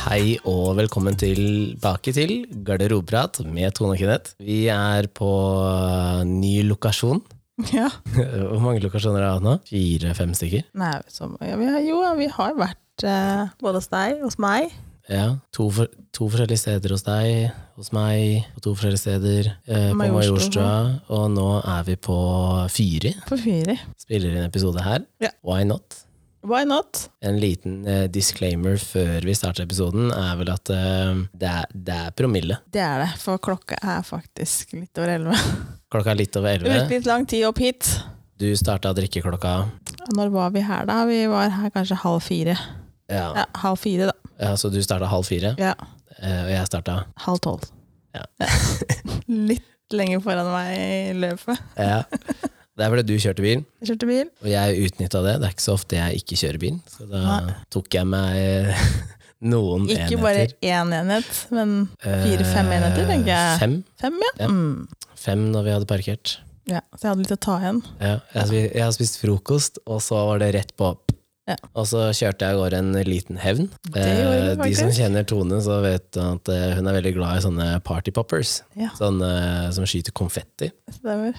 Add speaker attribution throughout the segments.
Speaker 1: Hei og velkommen tilbake til Garderobeprat med Tone og Kenneth. Vi er på eh, ny lokasjon.
Speaker 2: Ja.
Speaker 1: Hvor mange lokasjoner har vi hatt nå? Fire-fem stykker?
Speaker 2: Nei, så, ja, vi har, jo, vi har vært eh, både hos deg, hos meg.
Speaker 1: Ja. To, for, to forskjellige steder hos deg, hos meg, på to forskjellige steder. Eh, på
Speaker 2: Majorstua.
Speaker 1: Majorstua. Og nå er vi på Fyri.
Speaker 2: På Fyri.
Speaker 1: Spiller inn episode her.
Speaker 2: Ja.
Speaker 1: Why not?
Speaker 2: Why not?
Speaker 1: En liten eh, disclaimer før vi starter episoden er vel at eh, det, er, det er promille.
Speaker 2: Det er det, for klokka er faktisk litt over elleve.
Speaker 1: Klokka er litt over
Speaker 2: Det brukte
Speaker 1: elleve.
Speaker 2: litt lang tid opp hit.
Speaker 1: Du starta å drikke klokka
Speaker 2: Når var vi her, da? Vi var her kanskje halv fire.
Speaker 1: ja.
Speaker 2: Ja, halv fire, da.
Speaker 1: Ja, så du starta halv fire,
Speaker 2: Ja,
Speaker 1: eh, og jeg starta
Speaker 2: halv tolv.
Speaker 1: Ja.
Speaker 2: litt lenger foran meg i løpet.
Speaker 1: ja. Det er fordi du kjørte bil,
Speaker 2: Jeg kjørte bil.
Speaker 1: og jeg utnytta det. Det er ikke så ofte jeg ikke kjører bil, så da tok jeg meg eh, noen
Speaker 2: Ikke bare
Speaker 1: enheter.
Speaker 2: én enhet, men fire-fem enheter, tenker
Speaker 1: Eh,
Speaker 2: jeg.
Speaker 1: Fem,
Speaker 2: Fem, ja.
Speaker 1: Ja.
Speaker 2: Mm.
Speaker 1: fem når vi hadde parkert.
Speaker 2: ja. Så jeg hadde litt å ta igjen.
Speaker 1: Ja, jeg, har spi- jeg har spist frokost, og så var det rett på.
Speaker 2: Ja.
Speaker 1: Og så kjørte jeg av gårde en liten hevn. Eh,
Speaker 2: gjorde du
Speaker 1: de som
Speaker 2: faktisk.
Speaker 1: kjenner Tone, så vet at eh, hun er veldig glad i sånne party poppers.
Speaker 2: Ja.
Speaker 1: Sånne eh, som skyter konfetti.
Speaker 2: Stemmer.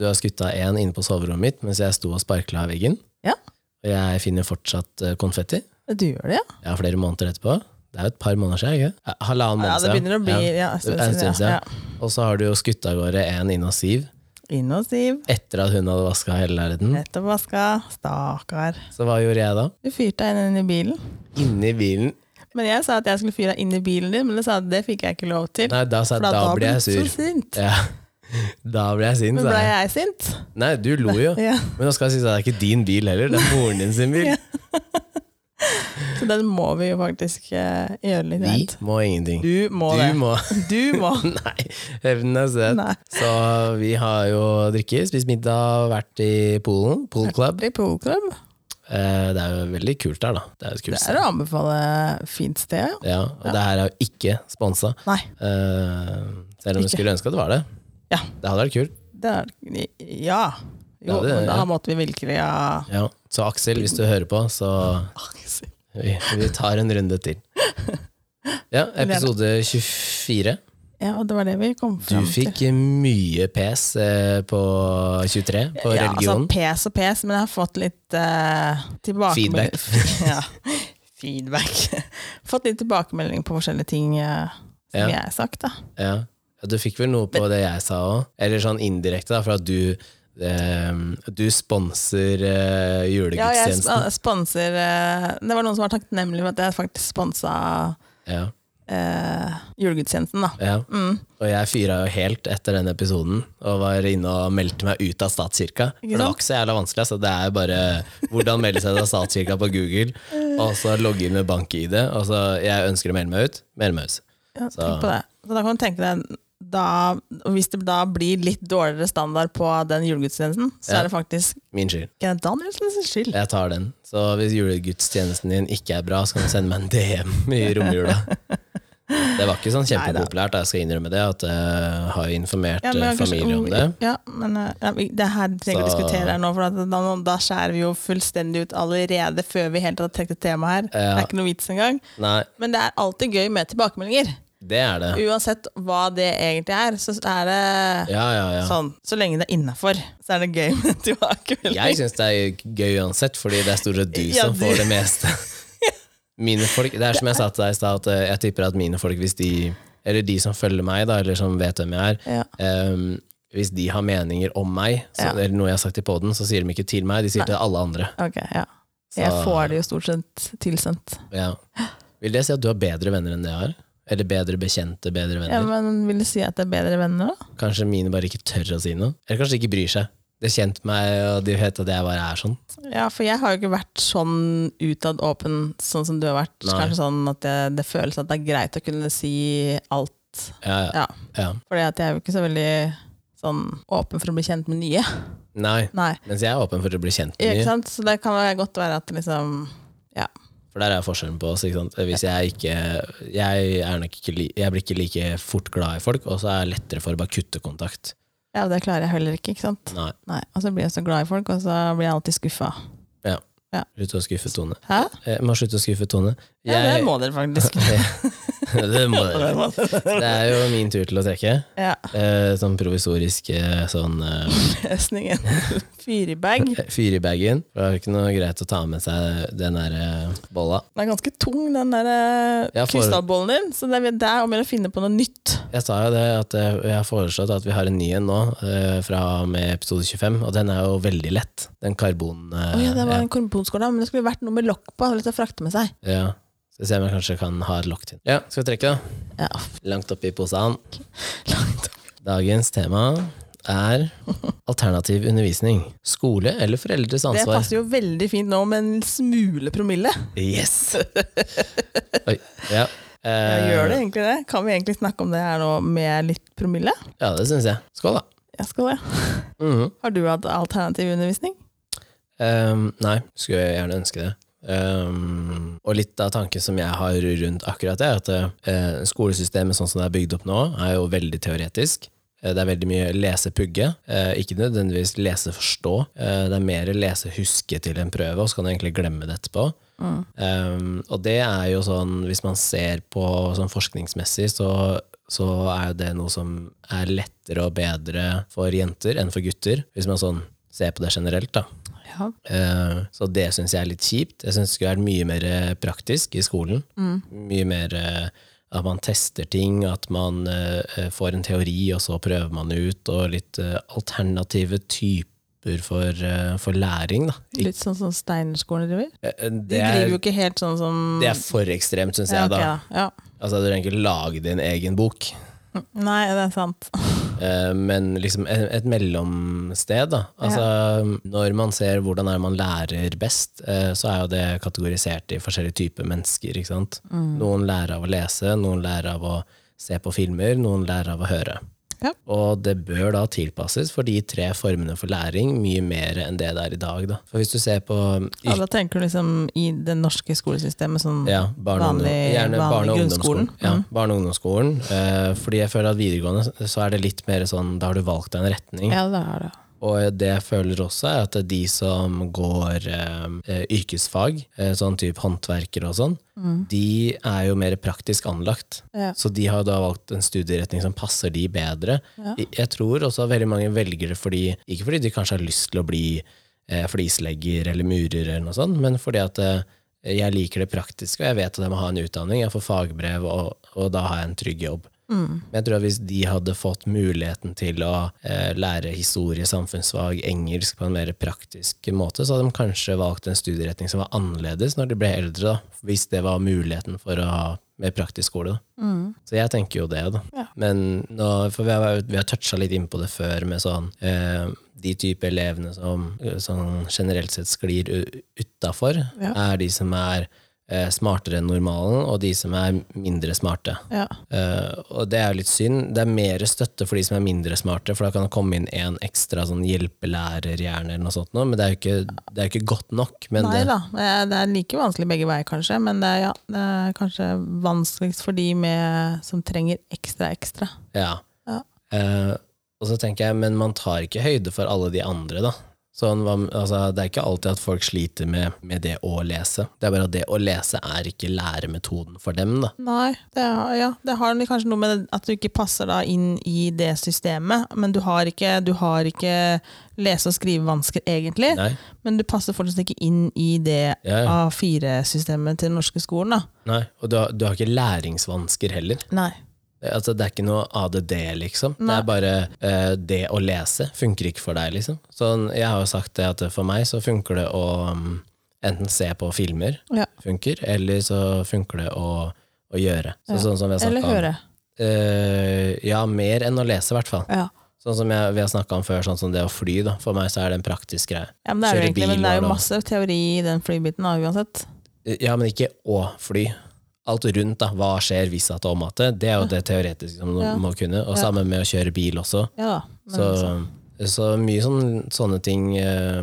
Speaker 1: Du har skutt av én inne på soverommet mitt mens jeg sto og sparkla av veggen.
Speaker 2: Ja.
Speaker 1: Og jeg finner fortsatt eh, konfetti.
Speaker 2: Du gjør det, ja?
Speaker 1: Jeg har flere måneder etterpå. Det er jo et par måneder siden. ikke? Ja, Halvannen
Speaker 2: Ja,
Speaker 1: måned
Speaker 2: det begynner å bli
Speaker 1: Ja.
Speaker 2: ja, en
Speaker 1: Det er en stund siden. Og så har du jo skutt av gårde en inne hos Siv
Speaker 2: Innosiv.
Speaker 1: etter at hun hadde vaska hele leiligheten.
Speaker 2: Nettopp vaska. Stakkar.
Speaker 1: Så hva gjorde jeg da?
Speaker 2: Du fyrte deg inn i bilen.
Speaker 1: Inni bilen.
Speaker 2: Men jeg sa at jeg skulle fyre deg inn i bilen din, men du sa at det fikk jeg ikke lov til.
Speaker 1: Nei, da sa jeg
Speaker 2: for
Speaker 1: da blir jeg
Speaker 2: du
Speaker 1: sur.
Speaker 2: så sint.
Speaker 1: Ja. Da ble jeg sint,
Speaker 2: Men
Speaker 1: sa
Speaker 2: ble
Speaker 1: jeg.
Speaker 2: jeg sint?
Speaker 1: Nei, du lo jo.
Speaker 2: Ja.
Speaker 1: Men nå skal jeg si at det er ikke din bil heller, det er moren din sin bil.
Speaker 2: Ja. Så den må vi jo faktisk eh, gjøre litt
Speaker 1: Vi
Speaker 2: rett.
Speaker 1: må ingenting.
Speaker 2: Du må
Speaker 1: Du
Speaker 2: det.
Speaker 1: må.
Speaker 2: Du må.
Speaker 1: Nei, hevnen er søt.
Speaker 2: Nei.
Speaker 1: Så vi har jo drikket, spist middag, vært i Polen, Pool Club.
Speaker 2: I poolklubb.
Speaker 1: Eh, Det er jo veldig kult der, da. Det er jo et
Speaker 2: Det
Speaker 1: kult
Speaker 2: er
Speaker 1: sted.
Speaker 2: å anbefale fint sted, ja.
Speaker 1: Ja, og det her er jo ikke sponsa.
Speaker 2: Nei,
Speaker 1: Eh, Selv om vi
Speaker 2: Ikke.
Speaker 1: skulle ønske at det var det.
Speaker 2: Ja.
Speaker 1: Det hadde vært kult.
Speaker 2: det er Ja. Jo,
Speaker 1: Ja, det er-
Speaker 2: men da
Speaker 1: ja.
Speaker 2: måtte vi virkelig ha
Speaker 1: Ja. Så Aksel, hvis du hører på, så vi, vi tar en runde til. Ja, episode 24.
Speaker 2: Ja, og det var det vi kom
Speaker 1: Du
Speaker 2: fram til.
Speaker 1: fikk mye pes eh, på 23, på
Speaker 2: ja,
Speaker 1: religion.
Speaker 2: Altså, pes og pes, men jeg har fått litt uh, tilbakemelding. ja, feedback. fått litt tilbakemelding på forskjellige ting eh, som
Speaker 1: Ja.
Speaker 2: jeg har sagt, da.
Speaker 1: Ja. ja, du fikk vel noe på det jeg sa òg, eller sånn indirekte, da, for at du eh, Du sponser eh,
Speaker 2: Ja, jeg
Speaker 1: julegudstjenesten.
Speaker 2: sp- sponser eh, Det var noen som var takknemlig for at jeg faktisk sponsa
Speaker 1: Ja,
Speaker 2: eh, julegudstjenesten, da.
Speaker 1: ja.
Speaker 2: Mm,
Speaker 1: Og jeg fyra jo helt etter den episoden, og var inne og meldte meg ut av statskirka. For det var
Speaker 2: sant?
Speaker 1: ikke så jævla vanskelig, altså. Det er bare hvordan melde seg ut av statskirka på Google, og så logge inn med bank-ID, og så Jeg ønsker å melde meg ut. Melde meg ut.
Speaker 2: ja, tenk på det. Så da kan du tenke deg da, og Hvis det da blir litt dårligere standard på den julegudstjenesten, så
Speaker 1: Ja.
Speaker 2: er det faktisk
Speaker 1: Min skyld.
Speaker 2: Kenneth Danielsens skyld.
Speaker 1: Jeg tar den. Så hvis julegudstjenesten din ikke er bra, så kan du sende meg en DM i romjula. Det var ikke sånn kjempepopulært, jeg skal innrømme det. At jeg har jo informert
Speaker 2: men
Speaker 1: eh,
Speaker 2: kanskje-
Speaker 1: familie om det.
Speaker 2: Ja, men eh, ja, vi- det her trenger vi
Speaker 1: Så-
Speaker 2: å diskutere her nå, for at da, da skjærer vi jo fullstendig ut allerede før vi helt har trukket temaet her.
Speaker 1: Ja.
Speaker 2: Det er ikke noe vits engang.
Speaker 1: Nei,
Speaker 2: Men det er alltid gøy med tilbakemeldinger.
Speaker 1: det er det.
Speaker 2: Uansett hva det egentlig er, så er det
Speaker 1: Ja, ja, ja.
Speaker 2: sånn. Så lenge det er innafor, så er det gøy med tilbakemelding.
Speaker 1: Jeg syns det er gøy uansett, fordi det er stort sett du
Speaker 2: Ja,
Speaker 1: som
Speaker 2: du.
Speaker 1: får det meste. Mine folk, Det er som jeg sa til deg i stad, at eh, jeg tipper at mine folk, hvis de Eller de som følger meg, da, eller som vet hvem jeg er,
Speaker 2: Ja.
Speaker 1: ehm, hvis de har meninger om meg, så,
Speaker 2: Ja.
Speaker 1: eller noe jeg har sagt i poden, så sier de ikke til meg, de sier til alle andre.
Speaker 2: Ok, ja. Jeg får det jo stort sett tilsendt.
Speaker 1: Ja. Vil det si at du har bedre venner enn det jeg har? Eller bedre bekjente, bedre
Speaker 2: Ja,
Speaker 1: venner?
Speaker 2: men Vil du si at det er bedre venner, da?
Speaker 1: Kanskje mine bare ikke tør å si noe? Eller kanskje de ikke bryr seg? De har kjent meg, og de vet at jeg bare er sånn.
Speaker 2: Ja, for jeg har jo ikke vært sånn utad åpen, sånn som du har vært.
Speaker 1: Nei.
Speaker 2: Kanskje sånn at det, det føles at det er greit å kunne si alt.
Speaker 1: Ja, ja.
Speaker 2: Ja,
Speaker 1: ja.
Speaker 2: fordi at jeg er jo ikke så veldig sånn åpen for å bli kjent med nye.
Speaker 1: Nei.
Speaker 2: Nei,
Speaker 1: Mens jeg er åpen for å bli kjent med
Speaker 2: ikke
Speaker 1: nye.
Speaker 2: sant? Så det kan være godt være at liksom Ja.
Speaker 1: For der er forskjellen på oss. Ikke sant? Hvis jeg ikke jeg, er nok ikke li, jeg blir ikke like fort glad i folk, og så er det lettere for å bare kutte kontakt.
Speaker 2: ja, det klarer jeg heller ikke, ikke sant?
Speaker 1: Nei.
Speaker 2: Nei, Og så blir jeg så glad i folk, og så blir jeg alltid skuffa.
Speaker 1: Ja.
Speaker 2: Ja.
Speaker 1: Slutt å skuffe Tone. Eh,
Speaker 2: Hæ?
Speaker 1: Jeg må slutte å skuffe Tone.
Speaker 2: Ja, det må dere faktisk.
Speaker 1: det må dere. Det er jo min tur til å trekke.
Speaker 2: Ja,
Speaker 1: Eh, sånn provisorisk eh, sånn eh,
Speaker 2: Løsningen. Fyr i bag.
Speaker 1: fyr i bagen. For Det er jo ikke noe greit å ta med seg den der eh, bolla.
Speaker 2: Den er ganske tung, den der eh,
Speaker 1: Ja, for-
Speaker 2: krystallbollen din. Så det er der om jeg vil finne på noe nytt.
Speaker 1: Jeg sa jo det at eh, jeg har foreslått at vi har en ny en nå, eh, fra og med episode 25, og den er jo veldig lett. Den karbon... eh,
Speaker 2: Å ja, det var en karbonskål, da, men det skulle vært noe med lokk på. Litt å frakte med seg.
Speaker 1: ja. ja. Skal vi se om jeg kanskje kan ha et lokk til. Ja, skal vi trekke, da?
Speaker 2: Ja,
Speaker 1: Langt oppi posen.
Speaker 2: langt.
Speaker 1: Dagens tema er alternativ undervisning. Skole eller foreldres
Speaker 2: Det
Speaker 1: ansvar?
Speaker 2: passer jo veldig fint nå med en smule promille.
Speaker 1: Yes! Oi, ja.
Speaker 2: Ja,
Speaker 1: Eh,
Speaker 2: Gjør det egentlig det? Kan vi egentlig snakke om det her nå med litt promille?
Speaker 1: Eh, Ja, det syns jeg. Skål, da.
Speaker 2: Jeg skal det.
Speaker 1: Mhm.
Speaker 2: Har du hatt alternativ undervisning?
Speaker 1: Ehm, nei, skulle jeg gjerne ønske det. Ehm, og litt av tanken som jeg har rundt akkurat det, er at eh, skolesystemet sånn som det er bygd opp nå, er jo veldig teoretisk. Eh, Det er veldig mye lese-pugge, eh, ikke nødvendigvis lese-forstå. Eh, det er mer lese-huske til en prøve, og så kan du egentlig glemme det etterpå. Ehm, og det er jo sånn, hvis man ser på sånn forskningsmessig, så så er jo det noe som er lettere og bedre for jenter enn for gutter, hvis man sånn ser på det generelt. da.
Speaker 2: Ja.
Speaker 1: Eh, Så det syns jeg er litt kjipt. Jeg syns det skulle vært mye mer eh, praktisk i skolen.
Speaker 2: Mm.
Speaker 1: Mye mer eh, at man tester ting, at man eh, eh, får en teori, og så prøver man det ut, og litt eh, alternative typer for, eh, for læring, da. Ik-
Speaker 2: Litt sånn som Steinerskolen driver?
Speaker 1: eh,
Speaker 2: De
Speaker 1: Det
Speaker 2: driver
Speaker 1: er,
Speaker 2: jo ikke helt sånn som
Speaker 1: det er for ekstremt, syns
Speaker 2: Ja,
Speaker 1: jeg,
Speaker 2: ok,
Speaker 1: da.
Speaker 2: da.
Speaker 1: Altså, du trenger ikke lage din egen bok,
Speaker 2: Ja. Nei, det er sant.
Speaker 1: eh, men liksom et, et mellomsted, da. Altså, når man ser hvordan er man lærer best, eh, så er jo det kategorisert i forskjellige typer mennesker, ikke sant.
Speaker 2: Mm.
Speaker 1: Noen lærer av å lese, noen lærer av å se på filmer, noen lærer av å høre.
Speaker 2: Ja.
Speaker 1: Og det bør da tilpasses for de tre formene for læring mye mer enn det det er i dag, da. For hvis du ser på
Speaker 2: Ja, da tenker du liksom i det norske skolesystemet sånn
Speaker 1: ja, barne, og ungdom-
Speaker 2: Vanlig-
Speaker 1: gjerne
Speaker 2: vanlig
Speaker 1: barne- og
Speaker 2: grunnskolen.
Speaker 1: ungdomsskolen.
Speaker 2: Mm.
Speaker 1: Ja, barne- og ungdomsskolen. Eh, fordi jeg føler at videregående så er det litt mer sånn, da har du valgt deg en retning.
Speaker 2: Ja, det er det.
Speaker 1: Og det jeg føler også er at de som går eh, eh, yrkesfag, eh, sånn type håndverkere og sånn, de er jo mer praktisk anlagt.
Speaker 2: Ja.
Speaker 1: Så de har jo da valgt en studieretning som passer de bedre. Jeg- Jeg tror også veldig mange velger det fordi, ikke fordi de kanskje har lyst til å bli eh, flislegger eller murer eller noe sånt, men fordi at eh, jeg liker det praktiske, og jeg vet at jeg må ha en utdanning, jeg får fagbrev, og, og da har jeg en trygg jobb. Men jeg tror at hvis de hadde fått muligheten til å eh, lære historie, samfunnsfag, engelsk på en mer praktisk måte, så hadde de kanskje valgt en studieretning som var annerledes når de ble eldre, da. hvis det var muligheten for å ha mer praktisk skole. Da. Så jeg tenker jo det, da.
Speaker 2: Ja.
Speaker 1: Men nå, for vi har, vi har toucha litt inn på det før med sånn eh, de type elevene som eh, sånn generelt sett sklir utafor,
Speaker 2: Ja.
Speaker 1: er de som er eh, smartere enn normalen, og de som er mindre smarte.
Speaker 2: Ja.
Speaker 1: Eh, og det er jo litt synd. Det er mer støtte for de som er mindre smarte, for da kan det komme inn en ekstra sånn hjelpelærer gjerne, eller noe sånt, nå, men det er jo ikke, det er jo ikke godt nok. Men
Speaker 2: Nei
Speaker 1: det,
Speaker 2: da, det er- det er like vanskelig begge veier kanskje, men det er, ja, det er kanskje vanskeligst for de med, som trenger ekstra ekstra.
Speaker 1: ja.
Speaker 2: Ja.
Speaker 1: Eh, og så tenker jeg, men man tar ikke høyde for alle de andre, da. Sånn, hva- altså, det er ikke alltid at folk sliter med, med det å lese. Det er bare at det å lese er ikke læremetoden for dem, da.
Speaker 2: Nei, det, er, ja, det har kanskje noe med at du ikke passer da inn i det systemet, men du har ikke, du har ikke lese- og skrivevansker egentlig,
Speaker 1: Nei.
Speaker 2: men du passer fortsatt ikke inn i det
Speaker 1: Ja, ja.
Speaker 2: A4-systemet til den norske skolen da.
Speaker 1: Nei. Og du har, du har ikke læringsvansker heller.
Speaker 2: Nei.
Speaker 1: Altså, det er ikke noe ADD, liksom. Det er bare eh, det å lese funker ikke for deg, liksom. Sånn, jeg har jo sagt det at for meg så funker det å um, enten se på filmer,
Speaker 2: Ja.
Speaker 1: funker, eller så funker det å, å gjøre. Så,
Speaker 2: Ja.
Speaker 1: Sånn som vi har
Speaker 2: Eller
Speaker 1: snakket om.
Speaker 2: høre.
Speaker 1: Eh, ja, mer enn å lese, i hvert fall.
Speaker 2: Ja.
Speaker 1: Sånn som jeg, vi har snakka om før, sånn som det å fly. da. For meg så er det en praktisk greie.
Speaker 2: Ja, men det er jo
Speaker 1: Kjøre
Speaker 2: egentlig, men
Speaker 1: bil
Speaker 2: det
Speaker 1: og
Speaker 2: er jo
Speaker 1: noe.
Speaker 2: masse teori i den flybiten da, uansett.
Speaker 1: Eh, Ja, men ikke å fly. Alt rundt, da. Hva skjer hvis at om at det? Det er jo det teoretiske som du
Speaker 2: Ja.
Speaker 1: må kunne. Og
Speaker 2: Ja.
Speaker 1: sammen med å kjøre bil også.
Speaker 2: Ja da. men altså.
Speaker 1: Så, så mye sånn, sånne ting eh,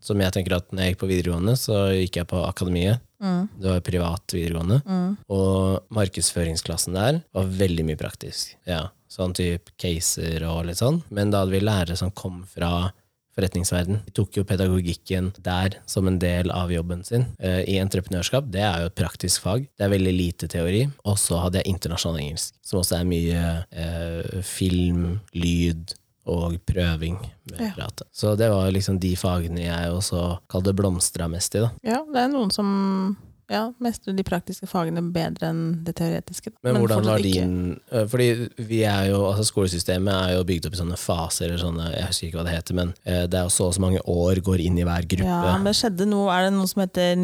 Speaker 1: som jeg tenker at når jeg gikk på videregående, så gikk jeg på akademiet.
Speaker 2: Mm.
Speaker 1: Det var privat videregående. Og markedsføringsklassen der var veldig mye praktisk. Ja, sånn type caser og litt sånn. Men da hadde vi lærere som kom fra forretningsverden. De tok jo pedagogikken der som en del av jobben sin. Eh, I entreprenørskap, det er jo et praktisk fag. Det er veldig lite teori. Og så hadde jeg internasjonal engelsk, som også er mye eh, film, lyd og prøving med
Speaker 2: Ja.
Speaker 1: prate. Så det var liksom de fagene jeg også kalte blomstra mest i, da.
Speaker 2: Ja, det er noen som ja, mestrer de praktiske fagene bedre enn det teoretiske. da.
Speaker 1: Men, hvordan
Speaker 2: fortsatt
Speaker 1: var
Speaker 2: ikke-
Speaker 1: din eh, Fordi vi er jo, altså skolesystemet er jo bygd opp i sånne faser eller sånne, jeg husker ikke hva det heter, men eh, det er jo så og så mange år går inn i hver gruppe.
Speaker 2: Ja, men det skjedde noe, er det noe som heter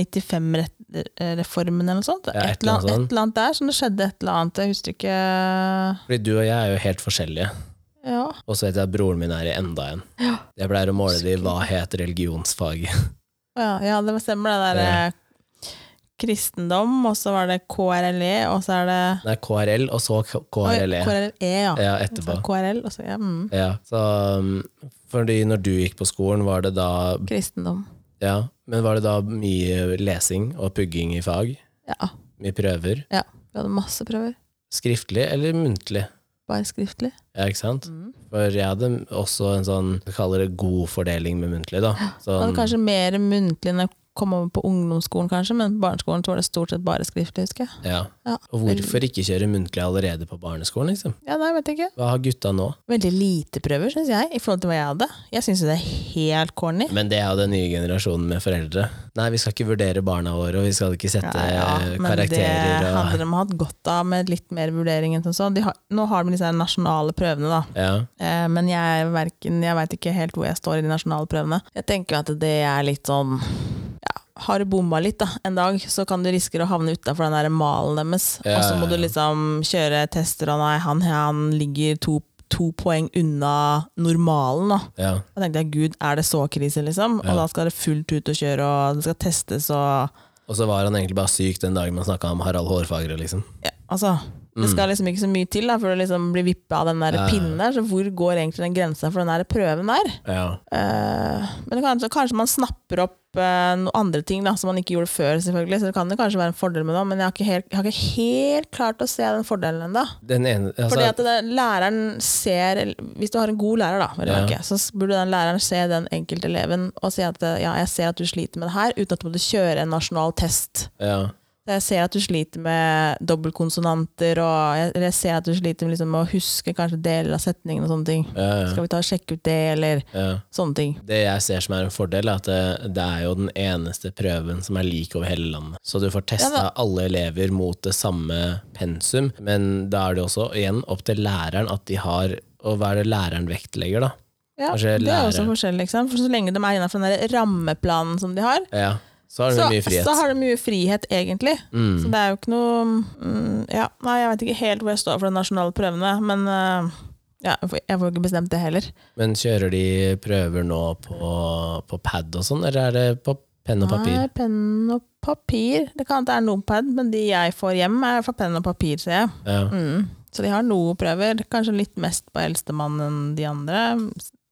Speaker 2: 95-reformen eller noe sånt?
Speaker 1: Ja, et
Speaker 2: et, eller annet,
Speaker 1: eller annet sånt.
Speaker 2: et eller annet der, som det skjedde et eller annet, jeg husker ikke...
Speaker 1: Fordi du og jeg er jo helt forskjellige.
Speaker 2: Ja,
Speaker 1: Og så vet jeg at broren min er i enda en. Jeg pleier å måle de hva het religionsfaget.
Speaker 2: ja, ja det stemmer det der
Speaker 1: Ja.
Speaker 2: eh, kristendom, og så var det KRLE, E, og så er det...
Speaker 1: Nei, KRL, og så K-
Speaker 2: Oi,
Speaker 1: KRLE.
Speaker 2: KRLE, E, ja.
Speaker 1: Ja,
Speaker 2: Og så
Speaker 1: etterpå.
Speaker 2: KRL, og så ja, mm,
Speaker 1: Ja, så, um, fordi når du gikk på skolen, var det da
Speaker 2: kristendom.
Speaker 1: Ja, men var det da mye lesing og pugging i fag?
Speaker 2: Ja,
Speaker 1: Mye prøver?
Speaker 2: ja. Vi hadde masse prøver,
Speaker 1: Skriftlig eller muntlig?
Speaker 2: bare skriftlig.
Speaker 1: Ja, ikke sant? For jeg hadde også en sånn, vi kaller det god fordeling med muntlig, da.
Speaker 2: Jeg
Speaker 1: Sånn,
Speaker 2: hadde kanskje mer muntlig enn jeg kom over på ungdomsskolen, kanskje, men på barneskolen så var det stort sett bare skriftlig, husker jeg.
Speaker 1: ja.
Speaker 2: Ja,
Speaker 1: Og hvorfor ikke kjøre muntlig allerede på barneskolen, liksom?
Speaker 2: ja nei, vet jeg ikke.
Speaker 1: Hva har gutta nå?
Speaker 2: Veldig lite prøver, syns jeg, i forhold til hva jeg hadde. Jeg syns det er helt corny.
Speaker 1: Men det er jo den nye generasjonen med foreldre. Nei, vi skal ikke vurdere barna våre, og vi skal ikke sette eh,
Speaker 2: men det
Speaker 1: karakterer
Speaker 2: hadde
Speaker 1: og
Speaker 2: de hatt godt av med litt mer vurdering enn som så. De har, nå har de disse her nasjonale prøvene, da.
Speaker 1: ja.
Speaker 2: Eh, men jeg, er verken, jeg veit ikke helt hvor jeg står i de nasjonale prøvene. Jeg tenker jo at det er litt sånn ja, har du bomma litt da, en dag, så kan du risikere å havne utafor den der malen deres.
Speaker 1: Ja,
Speaker 2: og så må
Speaker 1: ja,
Speaker 2: du
Speaker 1: ja.
Speaker 2: liksom kjøre tester, og nei, han, han ligger to, to poeng unna normalen, da.
Speaker 1: ja.
Speaker 2: Da tenkte jeg, gud, er det så krise, liksom?
Speaker 1: Ja.
Speaker 2: Og da skal det fullt ut og kjøre, og det skal testes, og
Speaker 1: Og så var han egentlig bare syk den dagen man snakka om Harald Hårfagre, liksom.
Speaker 2: ja, altså Det
Speaker 1: Mm.
Speaker 2: skal liksom ikke så mye til da, før du liksom blir vippa av den der
Speaker 1: Ja, ja.
Speaker 2: pinnen der, så hvor går egentlig den grensa for den der prøven der?
Speaker 1: Ja.
Speaker 2: Eh, men kanskje, kanskje man snapper opp eh, noen andre ting da, som man ikke gjorde før, selvfølgelig, så det kan det kanskje være en fordel med det, men jeg har ikke helt, jeg har ikke helt klart å se den fordelen ennå.
Speaker 1: Den ene altså,
Speaker 2: Fordi at det, læreren ser Hvis du har en god lærer, da, vel å
Speaker 1: Ja.
Speaker 2: merke, så burde den læreren se den enkelte eleven og si at ja, jeg ser at du sliter med det her, uten at du måtte kjøre en nasjonal test.
Speaker 1: ja.
Speaker 2: Jeg ser at du sliter med dobbeltkonsonanter, og jeg, eller jeg ser at du sliter med liksom, å huske kanskje deler av setningen og sånne ting.
Speaker 1: Ja, ja,
Speaker 2: Skal vi ta og sjekke ut det, eller
Speaker 1: ja.
Speaker 2: sånne ting.
Speaker 1: Det jeg ser som er en fordel, er at det, det er jo den eneste prøven som er lik over hele landet. Så du får testa
Speaker 2: Ja,
Speaker 1: alle elever mot det samme pensum, men da er det også igjen opp til læreren at de har Og hva er det læreren vektlegger, da?
Speaker 2: Ja,
Speaker 1: Kanskje
Speaker 2: det er også
Speaker 1: lære.
Speaker 2: forskjellig, ikke sant? For så lenge de er innenfor den der rammeplanen som de har,
Speaker 1: Ja, så har du
Speaker 2: så,
Speaker 1: mye frihet. Mm.
Speaker 2: så har de mye frihet, egentlig. Så det er jo ikke noe mm, ja, Nei, jeg vet ikke helt hvor jeg står for de nasjonale prøvene, men øh, ja, jeg får- jeg får ikke bestemt det heller.
Speaker 1: Men kjører de prøver nå på, på pad og sånn, eller er det på penn og papir?
Speaker 2: Nei, penn og papir. Det kan hende det er Nopad, men de jeg får hjem, er fra penn og papir, ser jeg.
Speaker 1: Ja.
Speaker 2: Mm. Så de har noe prøver. Kanskje litt mest på eldstemann enn de andre.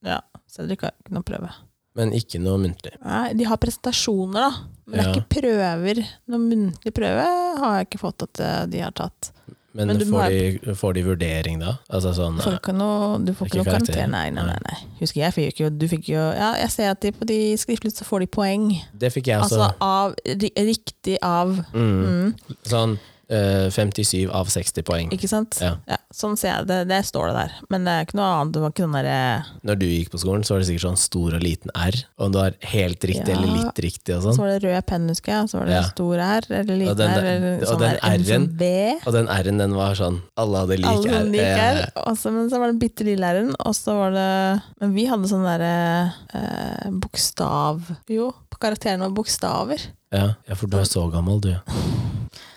Speaker 2: Ja, Cedric har ikke noe prøve.
Speaker 1: Men ikke noe muntlig.
Speaker 2: Nei, de har presentasjoner, da. Men det er
Speaker 1: Ja.
Speaker 2: ikke prøver. Noen muntlig prøve har jeg ikke fått at eh, de har tatt.
Speaker 1: Men,
Speaker 2: Men du må
Speaker 1: får, de, får de vurdering da? Altså sånn
Speaker 2: Du får ikke noe, du får
Speaker 1: Ikke
Speaker 2: ikke noe
Speaker 1: karakter.
Speaker 2: karakter. Nei, nei, nei, nei. Husker jeg fikk jo, du fikk jo ja, Jeg ser at de på de skriftlige så får de poeng.
Speaker 1: Det fikk jeg også.
Speaker 2: Altså av, ri- riktig av.
Speaker 1: mm. Sånn eh, 57 av 60 poeng.
Speaker 2: Ikke sant?
Speaker 1: Ja.
Speaker 2: sånn ser jeg det. Det står det der. Men det er ikke noe annet. Det var ikke den derre
Speaker 1: Når du gikk på skolen, så var det sikkert sånn stor og liten R. Om du har helt riktig
Speaker 2: Ja.
Speaker 1: eller litt riktig og
Speaker 2: Så
Speaker 1: sånn.
Speaker 2: var det rød penn, husker jeg. Så var det
Speaker 1: Ja.
Speaker 2: stor R, eller
Speaker 1: Og
Speaker 2: liten
Speaker 1: den
Speaker 2: R,
Speaker 1: der-
Speaker 2: eller
Speaker 1: og
Speaker 2: sånn
Speaker 1: den
Speaker 2: der M som
Speaker 1: R-en.
Speaker 2: V.
Speaker 1: Og den R-en, den var sånn Alle hadde lik
Speaker 2: Alle
Speaker 1: R.
Speaker 2: sånne gikk
Speaker 1: Eh,
Speaker 2: her. Også, men så var det den bitte lille R-en, og så var det Men vi hadde sånn derre eh, bokstav Jo, på karakteren var bokstaver.
Speaker 1: Ja, ja, for du er så gammel, du.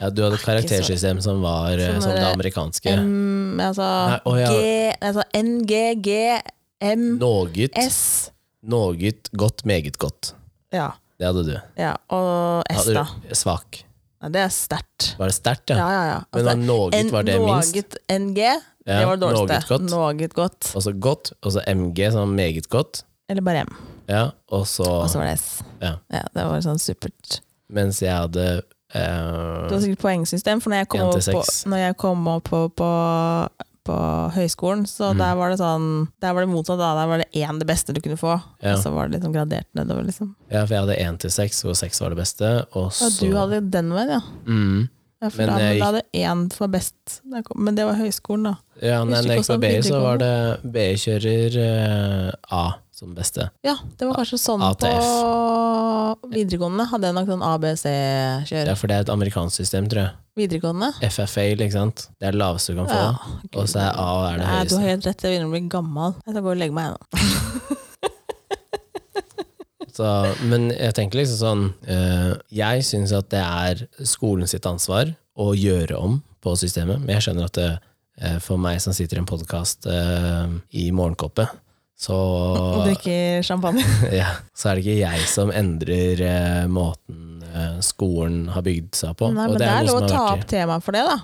Speaker 1: Ja, du hadde et karaktersystem som var eh,
Speaker 2: Sånn
Speaker 1: som det
Speaker 2: der-
Speaker 1: amerikanske.
Speaker 2: M, altså
Speaker 1: Nei, å ja.
Speaker 2: G Altså NG, G, M,
Speaker 1: Noget,
Speaker 2: S.
Speaker 1: noget godt, meget godt.
Speaker 2: Ja.
Speaker 1: Det hadde du.
Speaker 2: ja. Og S,
Speaker 1: Hadde
Speaker 2: da.
Speaker 1: du- Svak.
Speaker 2: Ja, det er sterkt.
Speaker 1: Var det sterkt, ja?
Speaker 2: Ja, ja, Altså, ja.
Speaker 1: Men da noget var det minst.
Speaker 2: Noget NG, det
Speaker 1: Ja,
Speaker 2: var det dårligste.
Speaker 1: noget godt.
Speaker 2: Noget godt.
Speaker 1: Og så godt, og så MG, som var meget godt.
Speaker 2: Eller bare M.
Speaker 1: Ja, og så
Speaker 2: Og så var det S.
Speaker 1: Ja.
Speaker 2: det var sånn supert.
Speaker 1: Mens jeg hadde eh,
Speaker 2: Det var sikkert poengsystem, for når jeg kom
Speaker 1: En til
Speaker 2: opp på,
Speaker 1: seks.
Speaker 2: når jeg kom opp på, på på høyskolen, så
Speaker 1: Mm.
Speaker 2: der var det sånn Der var det motsatt, da. Der var det én det beste du kunne få,
Speaker 1: Ja.
Speaker 2: og så var det liksom gradert nedover, liksom.
Speaker 1: Ja, for jeg hadde én til seks, hvor seks var det beste. Og
Speaker 2: Ja,
Speaker 1: så
Speaker 2: du hadde den veien, ja.
Speaker 1: mm,
Speaker 2: ja for
Speaker 1: Men
Speaker 2: da,
Speaker 1: jeg
Speaker 2: men da hadde én som var best, da jeg kom- men det var høyskolen, da.
Speaker 1: Ja, nei, når
Speaker 2: Husker
Speaker 1: jeg gikk på
Speaker 2: ikke hvordan
Speaker 1: BI, så
Speaker 2: videregående.
Speaker 1: var det BI-kjører eh, A som beste.
Speaker 2: Ja, det var kanskje sånn på videregående. Hadde jeg nok sånn ABC-kjør.
Speaker 1: Ja, for det er et amerikansk system, tror jeg.
Speaker 2: Videregående?
Speaker 1: FFA, ikke sant. Det er det laveste du kan få.
Speaker 2: Ja,
Speaker 1: Og så er A er det
Speaker 2: Nei, du har
Speaker 1: høyeste.
Speaker 2: helt rett, jeg begynner å bli gammel. Jeg skal gå og legge meg nå.
Speaker 1: Så, men jeg tenker liksom sånn eh, Jeg syns at det er skolen sitt ansvar å gjøre om på systemet. Men jeg skjønner at det, eh, for meg som sitter i en podkast i morgenkoppet, så
Speaker 2: Og drikke champagne.
Speaker 1: ja, så er det ikke jeg som endrer eh, måten eh, skolen har bygd seg på.
Speaker 2: Nei,
Speaker 1: Og
Speaker 2: men det er
Speaker 1: noe
Speaker 2: lov
Speaker 1: som
Speaker 2: å
Speaker 1: har
Speaker 2: ta
Speaker 1: vært i-
Speaker 2: opp temaet for det, da.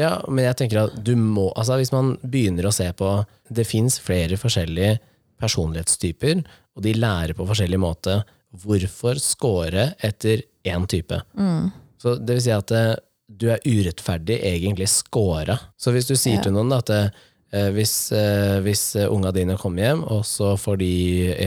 Speaker 1: Ja, men jeg tenker at du må Altså hvis man begynner å se på Det finnes flere forskjellige personlighetstyper, og de lærer på forskjellig måte. Hvorfor score etter én type? Så det vil si at eh, du er urettferdig egentlig scora. Så hvis du sier
Speaker 2: Ja.
Speaker 1: til noen da, at eh, hvis, eh, hvis eh, unga dine kommer hjem, og så får de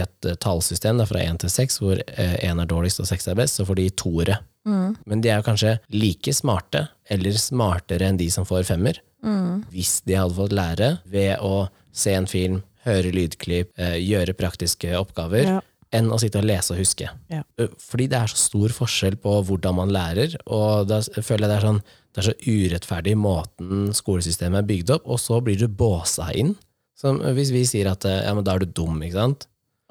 Speaker 1: et eh, tallsystem da, fra én til seks, hvor én er dårligst og seks er best, så får de toere.
Speaker 2: Mm.
Speaker 1: Men de er jo kanskje like smarte, eller smartere enn de som får femmer,
Speaker 2: Mm.
Speaker 1: hvis de hadde fått lære ved å se en film, høre lydklipp, eh, gjøre praktiske oppgaver,
Speaker 2: Ja.
Speaker 1: enn å sitte og lese og huske.
Speaker 2: Ja.
Speaker 1: Ø, Eh, Fordi det er så stor forskjell på hvordan man lærer, og da s- føler jeg det er sånn det er så urettferdig måten skolesystemet er bygd opp, og så blir du båsa inn. Som hvis vi sier at eh, ja, men da er du dum, ikke sant?